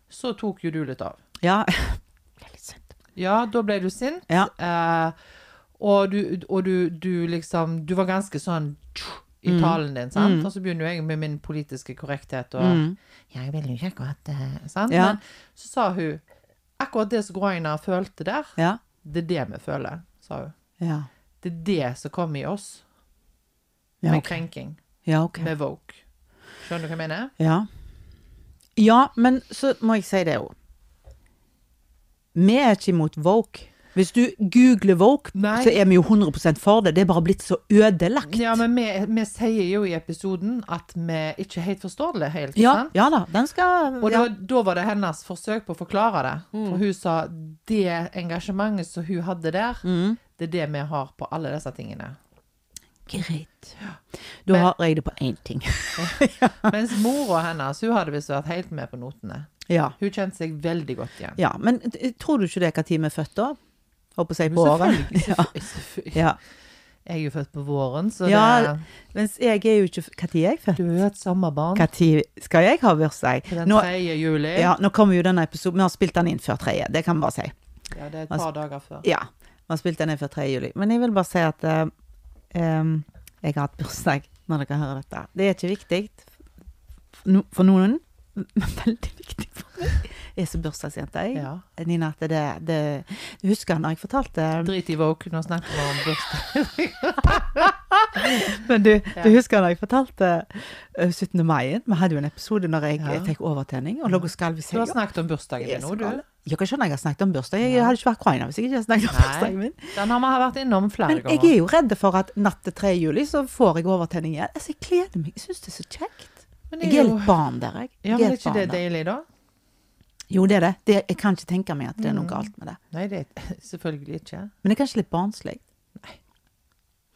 [SPEAKER 2] så tok jo du litt av.
[SPEAKER 1] Ja. Det er litt sint.
[SPEAKER 2] Ja, da ble du sint.
[SPEAKER 1] Ja.
[SPEAKER 2] eh, og du, og du, du liksom, du var ganske sånn tju,
[SPEAKER 1] Mm.
[SPEAKER 2] i talen din, sant? Og så begynner jo jeg med min politiske korrekthet og Ja, jeg vil jo ikke akkurat eh», sant?
[SPEAKER 1] Mm. Ja.
[SPEAKER 2] Men så sa hun akkurat det som Groiner følte der,
[SPEAKER 1] Ja.
[SPEAKER 2] det er det vi føler, sa hun.
[SPEAKER 1] Ja.
[SPEAKER 2] Det er det som kommer i oss
[SPEAKER 1] Ja,
[SPEAKER 2] med
[SPEAKER 1] ok.
[SPEAKER 2] krenking,
[SPEAKER 1] Ja, ok.
[SPEAKER 2] med woke. Skjønner du hva jeg mener?
[SPEAKER 1] Ja. ja, men så må jeg si det òg. Vi er ikke imot woke. Hvis du googler woke,
[SPEAKER 2] Nei.
[SPEAKER 1] så er vi jo 100 for det. Det er bare blitt så ødelagt.
[SPEAKER 2] Ja, men vi, vi sier jo i episoden at vi ikke helt forstår det helt.
[SPEAKER 1] Ja,
[SPEAKER 2] sant?
[SPEAKER 1] ja da, den skal
[SPEAKER 2] Og
[SPEAKER 1] ja. Mm.
[SPEAKER 2] da, da var det hennes forsøk på å forklare det. For hun sa det engasjementet som hun hadde der,
[SPEAKER 1] Mm.
[SPEAKER 2] det er det vi har på alle disse tingene.
[SPEAKER 1] Greit. Da har jeg det på én ting.
[SPEAKER 2] Mens mora hennes, hun hadde visst vært helt med på notene.
[SPEAKER 1] ja.
[SPEAKER 2] Hun kjente seg veldig godt igjen.
[SPEAKER 1] ja. Men t- tror du ikke det er hva tid vi er født da? Håper å si på året.
[SPEAKER 2] Selvfølgelig.
[SPEAKER 1] Ja.
[SPEAKER 2] selvfølgelig.
[SPEAKER 1] Ja.
[SPEAKER 2] Jeg er jo født på våren, så
[SPEAKER 1] Ja,
[SPEAKER 2] det
[SPEAKER 1] Mens jeg er jo ikke Når er jeg født?
[SPEAKER 2] Du er et sommerbarn.
[SPEAKER 1] Hva tid skal jeg ha bursdag?
[SPEAKER 2] Den
[SPEAKER 1] Nå,
[SPEAKER 2] 3. juli.
[SPEAKER 1] ja, nå kommer jo denne episoden Vi har spilt den inn før tredje, det kan vi bare si.
[SPEAKER 2] Ja, det er et par
[SPEAKER 1] Altså-
[SPEAKER 2] dager før.
[SPEAKER 1] Ja. Man spilte den inn før 3. juli. Men jeg vil bare si at eh, em, jeg har hatt bursdag når dere hører dette. Det er ikke viktig for no- for noen, men veldig viktig for meg. Jeg er så bursdagsjente, jeg.
[SPEAKER 2] Ja.
[SPEAKER 1] Nina, at det, det Du husker når jeg fortalte
[SPEAKER 2] Drit i woke, nå snakker vi om bursdag.
[SPEAKER 1] Men du, du husker når jeg fortalte eh, 17. mai? Vi hadde jo en episode når jeg
[SPEAKER 2] Ja.
[SPEAKER 1] eh, fikk overtenning og lå og skalv i
[SPEAKER 2] Du har
[SPEAKER 1] senga.
[SPEAKER 2] snakket om bursdagen
[SPEAKER 1] Jeg
[SPEAKER 2] din nå,
[SPEAKER 1] er så gal.
[SPEAKER 2] du.
[SPEAKER 1] Dere skjønner jeg har snakket om bursdag. Jeg hadde ikke vært Ukraina hvis jeg ikke hadde snakket om
[SPEAKER 2] Nei.
[SPEAKER 1] bursdagen min.
[SPEAKER 2] Den har vi vært innom flere
[SPEAKER 1] Men
[SPEAKER 2] ganger.
[SPEAKER 1] jeg er jo redd for at natt til 3. juli så får jeg overtenning igjen. Altså, jeg gleder meg. Jeg syns det er så kjekt.
[SPEAKER 2] Men det
[SPEAKER 1] Jeg er litt barn der, jeg.
[SPEAKER 2] Ja,
[SPEAKER 1] jeg
[SPEAKER 2] men er
[SPEAKER 1] et
[SPEAKER 2] ikke
[SPEAKER 1] barn
[SPEAKER 2] det
[SPEAKER 1] der.
[SPEAKER 2] deilig, da?
[SPEAKER 1] Jo, det er det. det. Jeg kan ikke tenke meg at det er
[SPEAKER 2] Mm.
[SPEAKER 1] noe galt med det.
[SPEAKER 2] Nei, det er selvfølgelig ikke.
[SPEAKER 1] Men det er kanskje litt barnslig.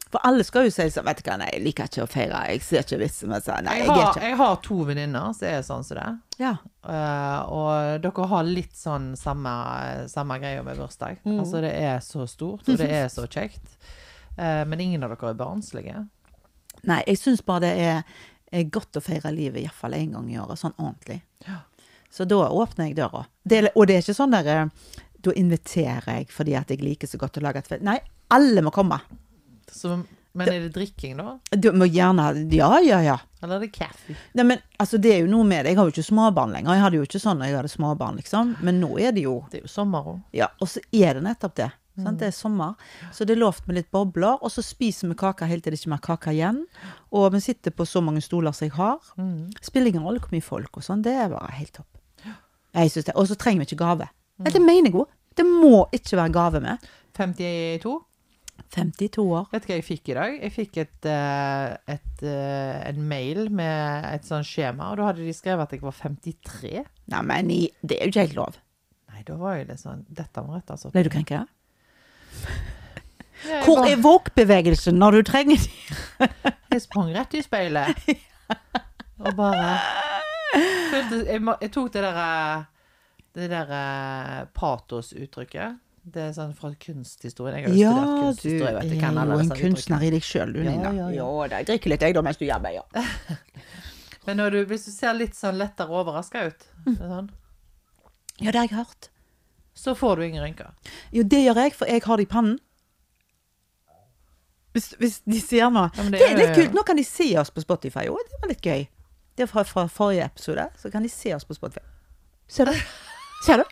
[SPEAKER 1] For alle skal jo si sånn Vet du hva, nei, jeg liker ikke å feire. Jeg ser ikke vitsen med sånn. Nei,
[SPEAKER 2] Jeg
[SPEAKER 1] jeg er
[SPEAKER 2] har,
[SPEAKER 1] ikke
[SPEAKER 2] jeg har to venninner som er sånn som det.
[SPEAKER 1] Ja.
[SPEAKER 2] Eh, og dere har litt sånn samme, samme greia med bursdag.
[SPEAKER 1] Mm.
[SPEAKER 2] Altså, det er så stort, og det er så kjekt. Eh, men ingen av dere er barnslige.
[SPEAKER 1] Nei, jeg syns bare det er eh, godt å feire livet iallfall én gang i året, sånn ordentlig.
[SPEAKER 2] Ja.
[SPEAKER 1] Så da åpner jeg døra. Det, er- og det er ikke sånn der eh, Da inviterer jeg fordi at jeg liker så godt å lage et fest. Nei, alle må komme.
[SPEAKER 2] Så, men er det drikking, da?
[SPEAKER 1] Du må gjerne Ja, ja, ja.
[SPEAKER 2] Eller er det kaffe?
[SPEAKER 1] Nei, men altså, det er jo noe med det. Jeg har jo ikke småbarn lenger. Jeg hadde jo ikke sånn da jeg hadde småbarn, liksom. Men nå er det jo
[SPEAKER 2] Det er jo sommer òg.
[SPEAKER 1] Ja, og så er det nettopp det. Sant? Det er sommer, så det er lovt med litt bobler. Og så spiser vi kake helt til det ikke er mer kake igjen. Og vi sitter på så mange stoler som jeg har. Spiller ingen rolle hvor mye folk og sånn. Det er bare helt topp. Jeg synes det. Og så trenger vi ikke gave. Nei, det mener jeg òg. Det må ikke være gave med.
[SPEAKER 2] 52.
[SPEAKER 1] 52 år.
[SPEAKER 2] Vet du hva jeg fikk i dag? Jeg fikk et, eh, et, eh, en mail med et sånt skjema, og da hadde de skrevet at jeg var 53.
[SPEAKER 1] Nei, men i, det er jo ikke helt lov.
[SPEAKER 2] Nei, da var jeg litt sånn Dette må rettes opp.
[SPEAKER 1] Ble du krenka?
[SPEAKER 2] Ja, jeg
[SPEAKER 1] Hvor
[SPEAKER 2] bare-
[SPEAKER 1] er woke-bevegelsen når du trenger den?
[SPEAKER 2] Jeg sprang rett i speilet. Og bare følte, jeg, må- jeg tok det der eh, Det der eh, patosuttrykket. Det er sånn fra kunsthistorien. Jeg har jo studert
[SPEAKER 1] Ja, du
[SPEAKER 2] kunsthistorie.
[SPEAKER 1] er
[SPEAKER 2] vet du, jeg kan alle
[SPEAKER 1] jo
[SPEAKER 2] disse
[SPEAKER 1] en
[SPEAKER 2] uttrykkene.
[SPEAKER 1] kunstner i deg sjøl, du,
[SPEAKER 2] Ja,
[SPEAKER 1] Nina.
[SPEAKER 2] ja, ja.
[SPEAKER 1] Jo da, jeg drikker litt jeg da mens du arbeider.
[SPEAKER 2] Men når du, hvis du ser litt sånn lettere overraska ut,
[SPEAKER 1] Mm.
[SPEAKER 2] det er sånn,
[SPEAKER 1] Ja, det har jeg hørt.
[SPEAKER 2] så får du ingen rynker.
[SPEAKER 1] Jo, det gjør jeg, for jeg har det i pannen. Hvis, hvis de sier noe.
[SPEAKER 2] Ja, men
[SPEAKER 1] det,
[SPEAKER 2] det
[SPEAKER 1] er
[SPEAKER 2] er
[SPEAKER 1] litt
[SPEAKER 2] jo-
[SPEAKER 1] kult. Nå kan de se oss på Spotify. Jo, det var litt gøy. Det er fra, fra forrige episode. Så kan de se oss på Spotify. Ser du? Ser du?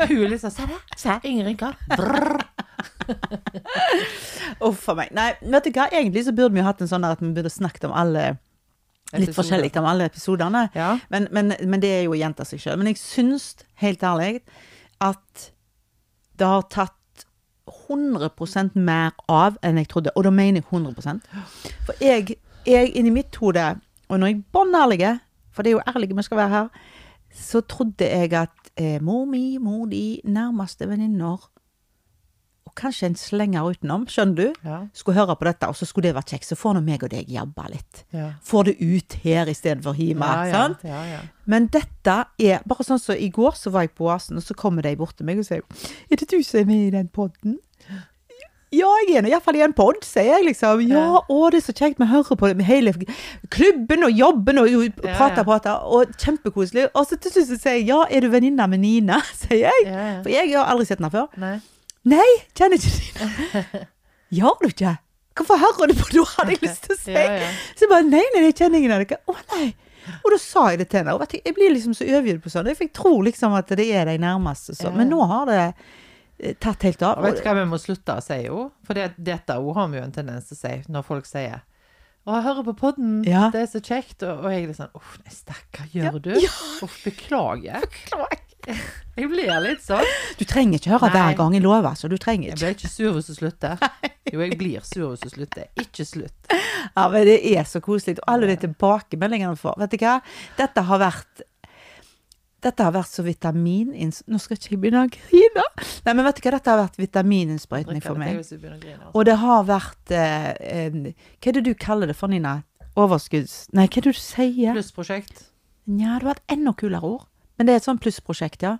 [SPEAKER 2] Hun er liksom Se her!
[SPEAKER 1] Se her.
[SPEAKER 2] Ingen rynker.
[SPEAKER 1] Uff a meg. Nei, vet du hva. Egentlig så burde vi jo hatt en sånn der at vi burde snakket om alle Litt
[SPEAKER 2] Episoder.
[SPEAKER 1] forskjellig om alle episodene.
[SPEAKER 2] Ja.
[SPEAKER 1] Men, men, men det er jo å gjenta seg sjøl. Men jeg syns, helt ærlig, at det har tatt 100 mer av enn jeg trodde. Og da mener jeg 100 For jeg, jeg inni mitt hode, og når jeg er bånn ærlig, for det er jo ærlige vi skal være her, så trodde jeg at eh, mor mi, mor di, nærmeste venninner og kanskje en slenger utenom, skjønner du,
[SPEAKER 2] Ja.
[SPEAKER 1] skulle høre på dette, og så skulle det vært kjekt. Så får nå meg og deg jabba litt
[SPEAKER 2] Ja.
[SPEAKER 1] får det ut her istedenfor hjemme.
[SPEAKER 2] Ja, ja,
[SPEAKER 1] sant?
[SPEAKER 2] ja, ja.
[SPEAKER 1] Men dette er bare sånn som så I går så var jeg på Oasen, og så kommer de bort til meg og sier Er det du som er med i den podden? Ja, jeg er nå iallfall i en pod, sier jeg liksom. Ja,
[SPEAKER 2] Ja.
[SPEAKER 1] å, det er så kjekt. Vi hører på med hele klubben og jobben og jo,
[SPEAKER 2] Ja,
[SPEAKER 1] prater,
[SPEAKER 2] ja.
[SPEAKER 1] prater. Og kjempekoselig. Og så til slutt så sier jeg ja, er du venninna med Nina? sier jeg.
[SPEAKER 2] Ja, ja.
[SPEAKER 1] For jeg har aldri sett henne før.
[SPEAKER 2] Nei.
[SPEAKER 1] Nei, kjenner ikke Nina. Gjør du ikke? Hvorfor hører du på det? Hadde jeg lyst til å si.
[SPEAKER 2] Ja, ja.
[SPEAKER 1] Så jeg bare nei, nei, jeg kjenner ingen av dere. Å nei. Og da sa jeg det til henne. Og vet du, jeg blir liksom så overgitt på sånn. For jeg tror liksom at det er de nærmeste. Så.
[SPEAKER 2] Ja.
[SPEAKER 1] Men nå har det eh, tatt helt av.
[SPEAKER 2] Og vet du hva vi må slutte å si jo? For det, dette ord har vi jo en tendens til å si når folk sier å, jeg hører på podden,
[SPEAKER 1] Ja.
[SPEAKER 2] det er så kjekt. Og, og jeg er litt sånn Uff, nei, stakkar, gjør du?
[SPEAKER 1] ja.
[SPEAKER 2] Uff, beklager. Jeg blir litt sånn.
[SPEAKER 1] Du trenger ikke høre
[SPEAKER 2] Nei.
[SPEAKER 1] hver gang jeg lover, så du trenger
[SPEAKER 2] Jeg
[SPEAKER 1] ikke.
[SPEAKER 2] blir ikke sur hvis du slutter. Jo, jeg blir sur hvis du slutter. Ikke slutt.
[SPEAKER 1] Ja, men det er så koselig. Og alle de tilbakemeldingene vi får. Vet du hva? Dette har vært dette har vært så vitamininnspr... Nå skal ikke jeg begynne å grine. Nei, men vet du hva? Dette har vært vitamininnsprøytning
[SPEAKER 2] Drikker
[SPEAKER 1] for
[SPEAKER 2] litt,
[SPEAKER 1] meg.
[SPEAKER 2] jeg, hvis du begynner å grine, altså.
[SPEAKER 1] Og det har vært eh, en, Hva er det du kaller det for, Nina? Overskudds... Nei, hva er det du sier?
[SPEAKER 2] Plussprosjekt.
[SPEAKER 1] Nja, det var et enda kulere ord. Men det er et sånn plussprosjekt, ja.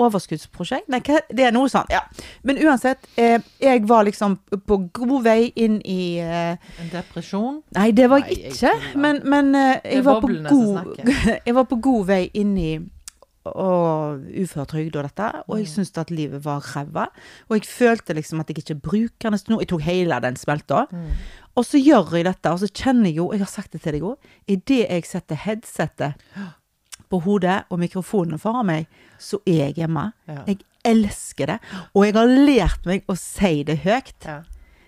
[SPEAKER 1] Overskuddsprosjekt? Nei, hva, det er noe sånt. Ja. Men uansett, eh, jeg var liksom på god vei inn i eh,
[SPEAKER 2] En depresjon.
[SPEAKER 1] Nei, det var
[SPEAKER 2] Nei,
[SPEAKER 1] jeg
[SPEAKER 2] jeg
[SPEAKER 1] ikke.
[SPEAKER 2] tuller.
[SPEAKER 1] Men, men eh,
[SPEAKER 2] er
[SPEAKER 1] jeg, var på
[SPEAKER 2] boblene som
[SPEAKER 1] god, jeg var på god vei inn i og uføretrygd og dette. Og
[SPEAKER 2] Mm.
[SPEAKER 1] jeg syntes at livet var ræva. Og jeg følte liksom at jeg ikke bruker den nå. Jeg tok hele den smelta.
[SPEAKER 2] Mm.
[SPEAKER 1] Og så gjør jeg dette, og så kjenner jeg jo, jeg har sagt det til deg òg, idet jeg setter headsetet på hodet og mikrofonen foran meg, så er jeg hjemme.
[SPEAKER 2] Ja.
[SPEAKER 1] Jeg elsker det. Og jeg har lært meg å si det høyt.
[SPEAKER 2] Ja.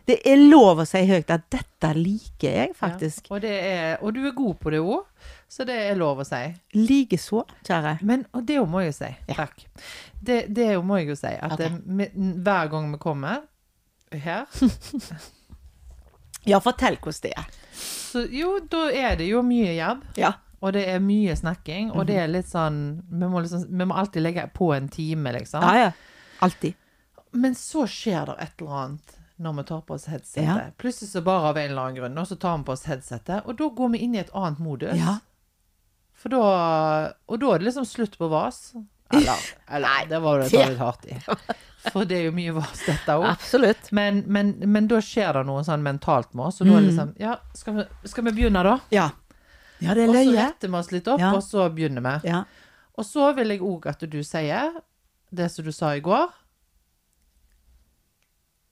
[SPEAKER 1] Det er lov å si høyt at dette liker jeg faktisk.
[SPEAKER 2] Ja. Og, det er, og du er god på det òg, så det er lov å si.
[SPEAKER 1] Likeså, kjære.
[SPEAKER 2] Men, og det jo må jeg jo si. Takk. Det, det jo må jeg jo si. At
[SPEAKER 1] Ok.
[SPEAKER 2] det, med- n- hver gang vi kommer her,
[SPEAKER 1] Ja, fortell hvordan det er.
[SPEAKER 2] så jo, da er det jo mye jobb.
[SPEAKER 1] Ja.
[SPEAKER 2] Og det er mye snakking. Og
[SPEAKER 1] Mhm.
[SPEAKER 2] det er litt sånn Vi må, liksom, vi må alltid legge på en time, liksom.
[SPEAKER 1] Ja, ja. Alltid.
[SPEAKER 2] Men så skjer det et eller annet når vi tar på oss headsetet.
[SPEAKER 1] Ja.
[SPEAKER 2] Plutselig så bare av en eller annen grunn, og så tar vi på oss headsetet, og da går vi inn i et annet modus.
[SPEAKER 1] Ja.
[SPEAKER 2] For da Og da er det liksom slutt på vas. Eller, eller det var det å ta litt hardt i. For det er jo mye vas, dette òg.
[SPEAKER 1] Absolutt.
[SPEAKER 2] Men,
[SPEAKER 1] Mm.
[SPEAKER 2] men, men da skjer det noe sånn mentalt med oss, og da er det liksom Ja, skal vi, skal vi begynne, da?
[SPEAKER 1] Ja. Ja, det er
[SPEAKER 2] Og så
[SPEAKER 1] løye.
[SPEAKER 2] retter vi oss litt opp,
[SPEAKER 1] Ja.
[SPEAKER 2] og så begynner vi.
[SPEAKER 1] Ja.
[SPEAKER 2] Og så vil jeg òg at du sier det som du sa i går.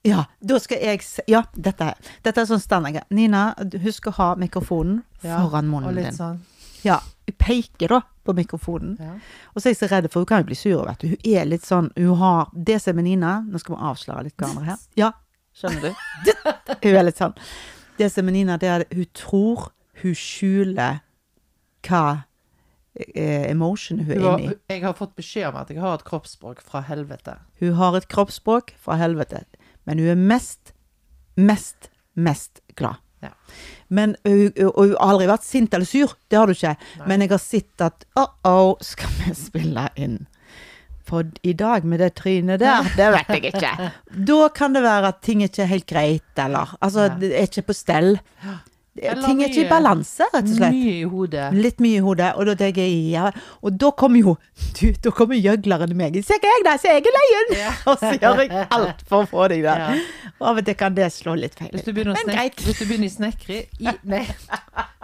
[SPEAKER 1] ja, da skal jeg se Ja, dette er, dette er sånn standardgreie. Nina, du- husk å ha mikrofonen
[SPEAKER 2] Ja,
[SPEAKER 1] foran
[SPEAKER 2] Og
[SPEAKER 1] munnen
[SPEAKER 2] litt
[SPEAKER 1] din.
[SPEAKER 2] sånn.
[SPEAKER 1] Ja, hun peker da på mikrofonen.
[SPEAKER 2] Ja.
[SPEAKER 1] Og så er jeg så redd for hun kan jo bli sur, vet du. Hun er litt sånn Hun har Det som er Nina Nå skal vi avsløre litt hverandre her. Ja, skjønner du? hun er litt sånn. Det som er Nina, det er at hun tror hun skjuler hva eh, emotion hun er
[SPEAKER 2] Hun har,
[SPEAKER 1] inne i.
[SPEAKER 2] jeg har fått beskjed om at jeg har et kroppsspråk fra helvete.
[SPEAKER 1] Hun har et kroppsspråk fra helvete, men hun er mest, mest, mest glad.
[SPEAKER 2] Ja.
[SPEAKER 1] Men, hun- og hun har aldri vært sint eller sur, det har du ikke. Men jeg har sett at uh-oh, skal vi spille inn? For i dag med det trynet der, det vet jeg ikke. Da kan det være at ting ikke er helt greit, eller altså,
[SPEAKER 2] Ja.
[SPEAKER 1] det er ikke på stell.
[SPEAKER 2] Eller
[SPEAKER 1] ting er ikke i
[SPEAKER 2] mye-
[SPEAKER 1] balanse, rett og slett.
[SPEAKER 2] Mye i hodet.
[SPEAKER 1] Litt mye i hodet, og da tenker jeg ja. Og da kommer jo du, da kommer gjøgleren i meg. Se hva jeg da, se jeg er løyen! og så gjør jeg alt for å få deg der.
[SPEAKER 2] Ja.
[SPEAKER 1] Og av og til kan det slå litt feil.
[SPEAKER 2] Hvis
[SPEAKER 1] ut.
[SPEAKER 2] du begynner, å
[SPEAKER 1] Men
[SPEAKER 2] snek
[SPEAKER 1] greit.
[SPEAKER 2] hvis du begynner i snekre i, Nei.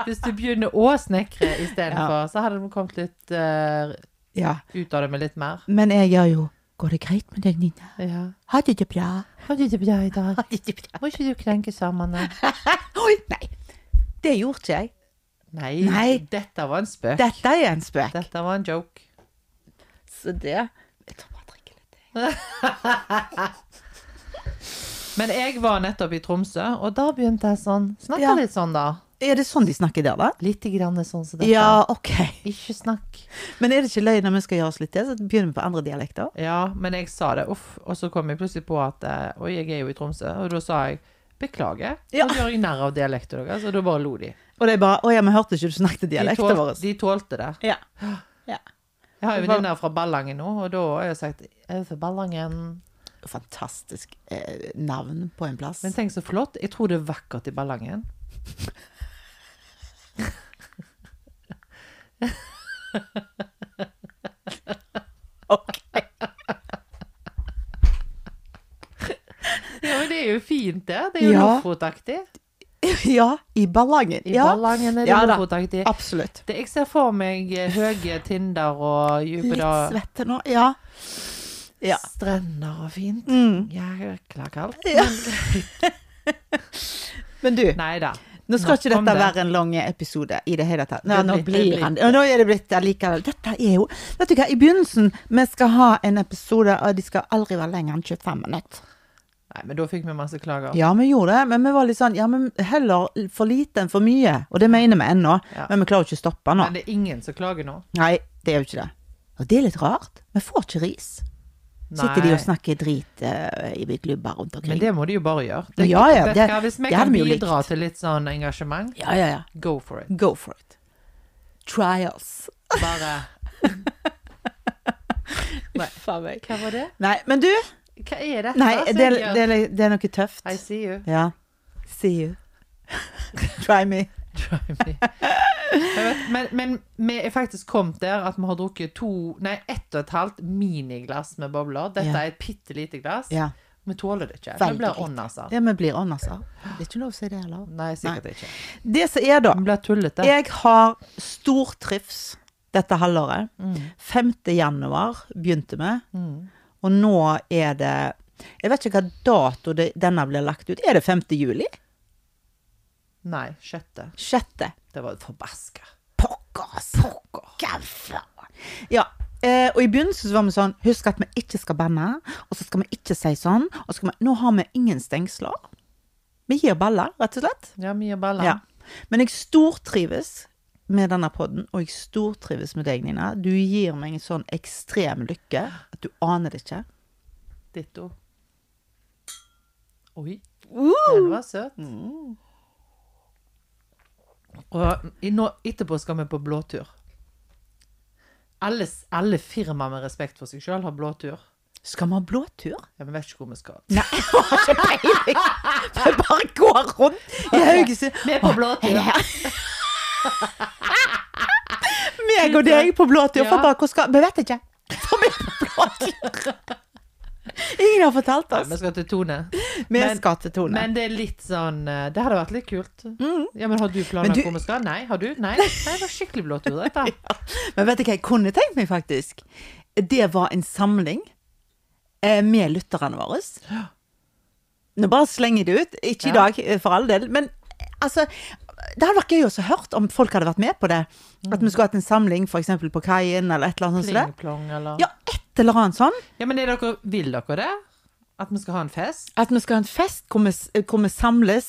[SPEAKER 2] Hvis du begynner å snekre istedenfor, så hadde de kommet litt eh,
[SPEAKER 1] Ja.
[SPEAKER 2] ut av det med litt mer.
[SPEAKER 1] Men jeg gjør jo Går det greit med deg, Nina?
[SPEAKER 2] Ja.
[SPEAKER 1] Har du det bra?
[SPEAKER 2] Har du det bra i dag?
[SPEAKER 1] Har du det bra?
[SPEAKER 2] Må ikke du krenke samene?
[SPEAKER 1] Oi, nei. Det gjorde ikke jeg.
[SPEAKER 2] Nei,
[SPEAKER 1] Nei.
[SPEAKER 2] dette var en spøk.
[SPEAKER 1] Dette er en spøk.
[SPEAKER 2] Dette var en joke.
[SPEAKER 1] Så det Jeg tror bare jeg drikker litt. jeg.
[SPEAKER 2] Men jeg var nettopp i Tromsø, og da begynte jeg sånn. Snakk
[SPEAKER 1] Ja.
[SPEAKER 2] litt sånn, da.
[SPEAKER 1] Er det sånn de snakker der, da?
[SPEAKER 2] Litt grann sånn som dette.
[SPEAKER 1] Ja, OK.
[SPEAKER 2] Ikke snakk.
[SPEAKER 1] Men er det ikke løgn når vi skal gjøre oss litt til, så begynner vi på andre dialekter?
[SPEAKER 2] Ja, men jeg sa det, uff. Og så kom jeg plutselig på at eh, Oi, jeg er jo i Tromsø. Og da sa jeg beklager.
[SPEAKER 1] Ja.
[SPEAKER 2] Så gjør jeg narr av dialekten deres. Og da bare lo de.
[SPEAKER 1] Og de bare Å ja, vi hørte ikke du snakket
[SPEAKER 2] De,
[SPEAKER 1] dialekten
[SPEAKER 2] tål,
[SPEAKER 1] vår.
[SPEAKER 2] de tålte det.
[SPEAKER 1] Ja. ja.
[SPEAKER 2] Jeg har jo venninner fra Ballangen nå, og da har jeg sagt Jeg er fra Ballangen.
[SPEAKER 1] Fantastisk eh, navn på en plass.
[SPEAKER 2] Men tenk så flott. Jeg tror det er vakkert i Ballangen.
[SPEAKER 1] Ok.
[SPEAKER 2] Ja, men det er jo fint, det. Det er jo
[SPEAKER 1] Ja.
[SPEAKER 2] Lofotaktig.
[SPEAKER 1] ja, i Ballangen.
[SPEAKER 2] I
[SPEAKER 1] ja,
[SPEAKER 2] Ballangen er det
[SPEAKER 1] Ja da.
[SPEAKER 2] Lofotaktig.
[SPEAKER 1] absolutt.
[SPEAKER 2] Det, jeg ser for meg eh, høye tinder og dype
[SPEAKER 1] Litt
[SPEAKER 2] da-
[SPEAKER 1] svette nå. Ja. Ja.
[SPEAKER 2] strender og fint.
[SPEAKER 1] Mm.
[SPEAKER 2] Jækla kaldt.
[SPEAKER 1] ja. Men du,
[SPEAKER 2] Nei da.
[SPEAKER 1] nå skal ikke
[SPEAKER 2] nok om
[SPEAKER 1] dette
[SPEAKER 2] det.
[SPEAKER 1] være en lang episode i det hele tatt. Nei,
[SPEAKER 2] Det
[SPEAKER 1] nå
[SPEAKER 2] blir- det
[SPEAKER 1] blir
[SPEAKER 2] blir-
[SPEAKER 1] han Og nå er det blitt det likevel. Dette er jo Vet du hva, i begynnelsen vi skal ha en episode, og de skal aldri være lenger enn 25 minutter.
[SPEAKER 2] Nei, men da fikk vi masse klager.
[SPEAKER 1] Ja, vi gjorde det, men vi var litt sånn Ja, men heller for lite enn for mye. Og det mener vi ennå,
[SPEAKER 2] Ja.
[SPEAKER 1] men vi klarer jo ikke å stoppe nå.
[SPEAKER 2] Men det er ingen som klager nå.
[SPEAKER 1] Nei, det er jo ikke det. Og det er litt rart. Vi får ikke ris. Sitter de og snakker drit eh, i klubber rundt
[SPEAKER 2] Men
[SPEAKER 1] omkring.
[SPEAKER 2] det må de jo bare gjøre. Det,
[SPEAKER 1] Ja, ja,
[SPEAKER 2] vet
[SPEAKER 1] det-
[SPEAKER 2] du hva, hvis vi
[SPEAKER 1] det
[SPEAKER 2] kan
[SPEAKER 1] hadde vi jo
[SPEAKER 2] bidra
[SPEAKER 1] likt.
[SPEAKER 2] til litt sånn engasjement,
[SPEAKER 1] Ja, ja, ja.
[SPEAKER 2] go for it.
[SPEAKER 1] Go for it. Trials.
[SPEAKER 2] Bare Nei.
[SPEAKER 1] Faen meg.
[SPEAKER 2] Hva var det?
[SPEAKER 1] Nei, men du
[SPEAKER 2] Hva er dette?
[SPEAKER 1] Nei,
[SPEAKER 2] som
[SPEAKER 1] det, er-
[SPEAKER 2] jeg gjør?
[SPEAKER 1] det, er- det er noe tøft.
[SPEAKER 2] I see you.
[SPEAKER 1] Ja. See you. Try me.
[SPEAKER 2] Try me. Jeg vet, men, men vi er faktisk kommet der at vi har drukket to, nei, ett og et halvt miniglass med bobler. Dette
[SPEAKER 1] Ja.
[SPEAKER 2] er et bitte lite glass.
[SPEAKER 1] Ja.
[SPEAKER 2] Vi tåler det ikke.
[SPEAKER 1] Veldig
[SPEAKER 2] Vi blir
[SPEAKER 1] lite.
[SPEAKER 2] ånd, altså.
[SPEAKER 1] ja vi blir ånd, altså. Det er ikke lov å si det heller.
[SPEAKER 2] Nei, sikkert ikke.
[SPEAKER 1] Det som er, da
[SPEAKER 2] Vi blir tullete.
[SPEAKER 1] Jeg har stor trivs dette halvåret. 5. januar begynte vi, og nå er det Jeg vet ikke hva dato det, denne blir lagt ut. Er det 5. juli?
[SPEAKER 2] Nei, kjøttet.
[SPEAKER 1] 6.
[SPEAKER 2] Det var forbaska.
[SPEAKER 1] Pokker, altså. Hva faen? Ja. Eh, og i begynnelsen så var vi sånn Husk at vi ikke skal banne, og så skal vi ikke si sånn. Og så skal vi, nå har vi ingen stengsler. Vi gir baller, rett og slett.
[SPEAKER 2] Ja, mye baller.
[SPEAKER 1] Ja. Men jeg stortrives med denne podden, og jeg stortrives med deg, Nina. Du gir meg en sånn ekstrem lykke at du aner det ikke.
[SPEAKER 2] Ditto. Oi,
[SPEAKER 1] Uh!
[SPEAKER 2] den var søt. Mm. Og i nå, etterpå skal vi på blåtur. Alle, s- alle firma med respekt for seg sjøl har blåtur.
[SPEAKER 1] Skal vi ha blåtur?
[SPEAKER 2] Ja, vi vet ikke hvor vi skal.
[SPEAKER 1] Nei, jeg har ikke peiling. Vi bare går rundt i Haugesund.
[SPEAKER 2] Vi er på blåtur.
[SPEAKER 1] Meg og deg på blåtur.
[SPEAKER 2] Ja.
[SPEAKER 1] For bare, hvor skal Vi vet ikke. For vi er på blåtur. Ingen har fortalt
[SPEAKER 2] Nei,
[SPEAKER 1] oss.
[SPEAKER 2] vi skal til Tone.
[SPEAKER 1] Vi
[SPEAKER 2] men-
[SPEAKER 1] skal til Tone.
[SPEAKER 2] Men det er litt sånn eh, Det hadde vært litt kult.
[SPEAKER 1] Mm.
[SPEAKER 2] Ja, men har du planer
[SPEAKER 1] Men du-
[SPEAKER 2] hvor vi skal? Nei, har du? Nei, Nei det var skikkelig blåtur, dette.
[SPEAKER 1] Men vet du hva jeg kunne tenkt meg, faktisk? Det var en samling eh, med lytterne våre. Nå bare slenger jeg det ut. Ikke i
[SPEAKER 2] Ja.
[SPEAKER 1] dag, eh, for all del. Men eh, altså Det hadde vært gøy også å hørt om folk hadde vært med på det. At vi skulle hatt en samling f.eks. på kaien, eller et eller annet sånt. som det.
[SPEAKER 2] Pling-plong, eller
[SPEAKER 1] Ja, et eller annet sånn.
[SPEAKER 2] Ja, men er dere, vil dere det? At vi skal ha en fest?
[SPEAKER 1] At vi skal ha en fest hvor vi, s- hvor vi samles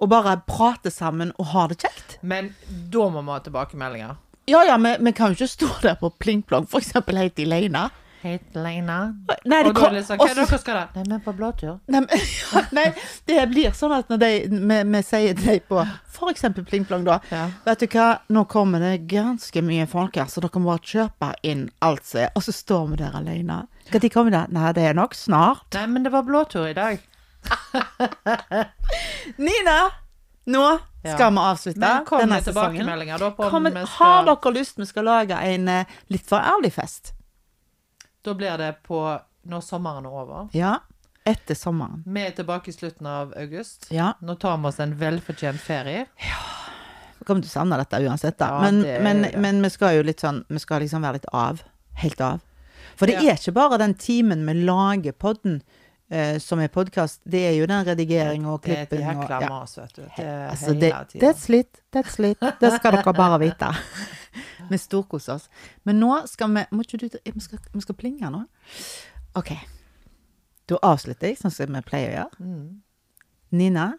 [SPEAKER 1] og bare prater sammen og har det kjekt.
[SPEAKER 2] Men da må vi ha tilbakemeldinger.
[SPEAKER 1] Ja ja, vi, vi kan jo ikke stå der på pling-plong f.eks. helt alene.
[SPEAKER 2] Helt alene.
[SPEAKER 1] Nei, det
[SPEAKER 2] Og da
[SPEAKER 1] kom-
[SPEAKER 2] er det sånn,
[SPEAKER 1] og så-
[SPEAKER 2] hva er det dere skal da? Nei, men på blåtur.
[SPEAKER 1] Nei, men, nei, det blir sånn at når de, vi, vi sier til deg på f.eks. Pling Plong, da
[SPEAKER 2] Ja.
[SPEAKER 1] Vet du hva, nå kommer det ganske mye folk her, så dere må bare kjøpe inn alt som er. Og så står vi der alene. Når kommer det? Nei, det er nok snart.
[SPEAKER 2] Nei, men det var blåtur i dag.
[SPEAKER 1] Nina! Nå
[SPEAKER 2] Ja.
[SPEAKER 1] skal vi avslutte
[SPEAKER 2] Men kom
[SPEAKER 1] denne
[SPEAKER 2] med
[SPEAKER 1] sesongen.
[SPEAKER 2] tilbakemeldinger da på
[SPEAKER 1] Kom,
[SPEAKER 2] om vi
[SPEAKER 1] Har
[SPEAKER 2] skal...
[SPEAKER 1] dere lyst vi skal lage en eh, litt for ærlig fest?
[SPEAKER 2] Da blir det på når sommeren er over.
[SPEAKER 1] Ja. Etter sommeren.
[SPEAKER 2] Vi er tilbake i slutten av august.
[SPEAKER 1] Ja.
[SPEAKER 2] Nå tar vi oss en velfortjent ferie.
[SPEAKER 1] Kommer til å savne dette uansett, da.
[SPEAKER 2] Ja,
[SPEAKER 1] men,
[SPEAKER 2] det er
[SPEAKER 1] men,
[SPEAKER 2] det.
[SPEAKER 1] men vi skal jo litt sånn Vi skal liksom være litt av. Helt av. For det
[SPEAKER 2] Ja.
[SPEAKER 1] er ikke bare den timen vi lager podden eh, som er podkast, det er jo den redigeringa og
[SPEAKER 2] Det er et
[SPEAKER 1] klipping og
[SPEAKER 2] jækla
[SPEAKER 1] ja.
[SPEAKER 2] mas, vet du. Det er
[SPEAKER 1] altså, det,
[SPEAKER 2] hele
[SPEAKER 1] det er et
[SPEAKER 2] tiden.
[SPEAKER 1] slitt. Det er et slitt. Det skal dere bare vite. vi storkoser oss. Men nå skal vi Må ikke du ta- Vi skal, vi skal plinge nå. OK. Da avslutter jeg sånn som vi pleier å gjøre.
[SPEAKER 2] Mm.
[SPEAKER 1] Nina,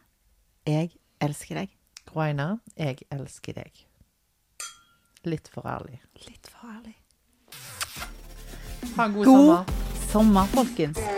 [SPEAKER 1] jeg elsker deg.
[SPEAKER 2] Groina, jeg elsker deg. Litt for ærlig.
[SPEAKER 1] Litt for ærlig.
[SPEAKER 2] Ha en god,
[SPEAKER 1] God
[SPEAKER 2] sommer.
[SPEAKER 1] sommer, folkens.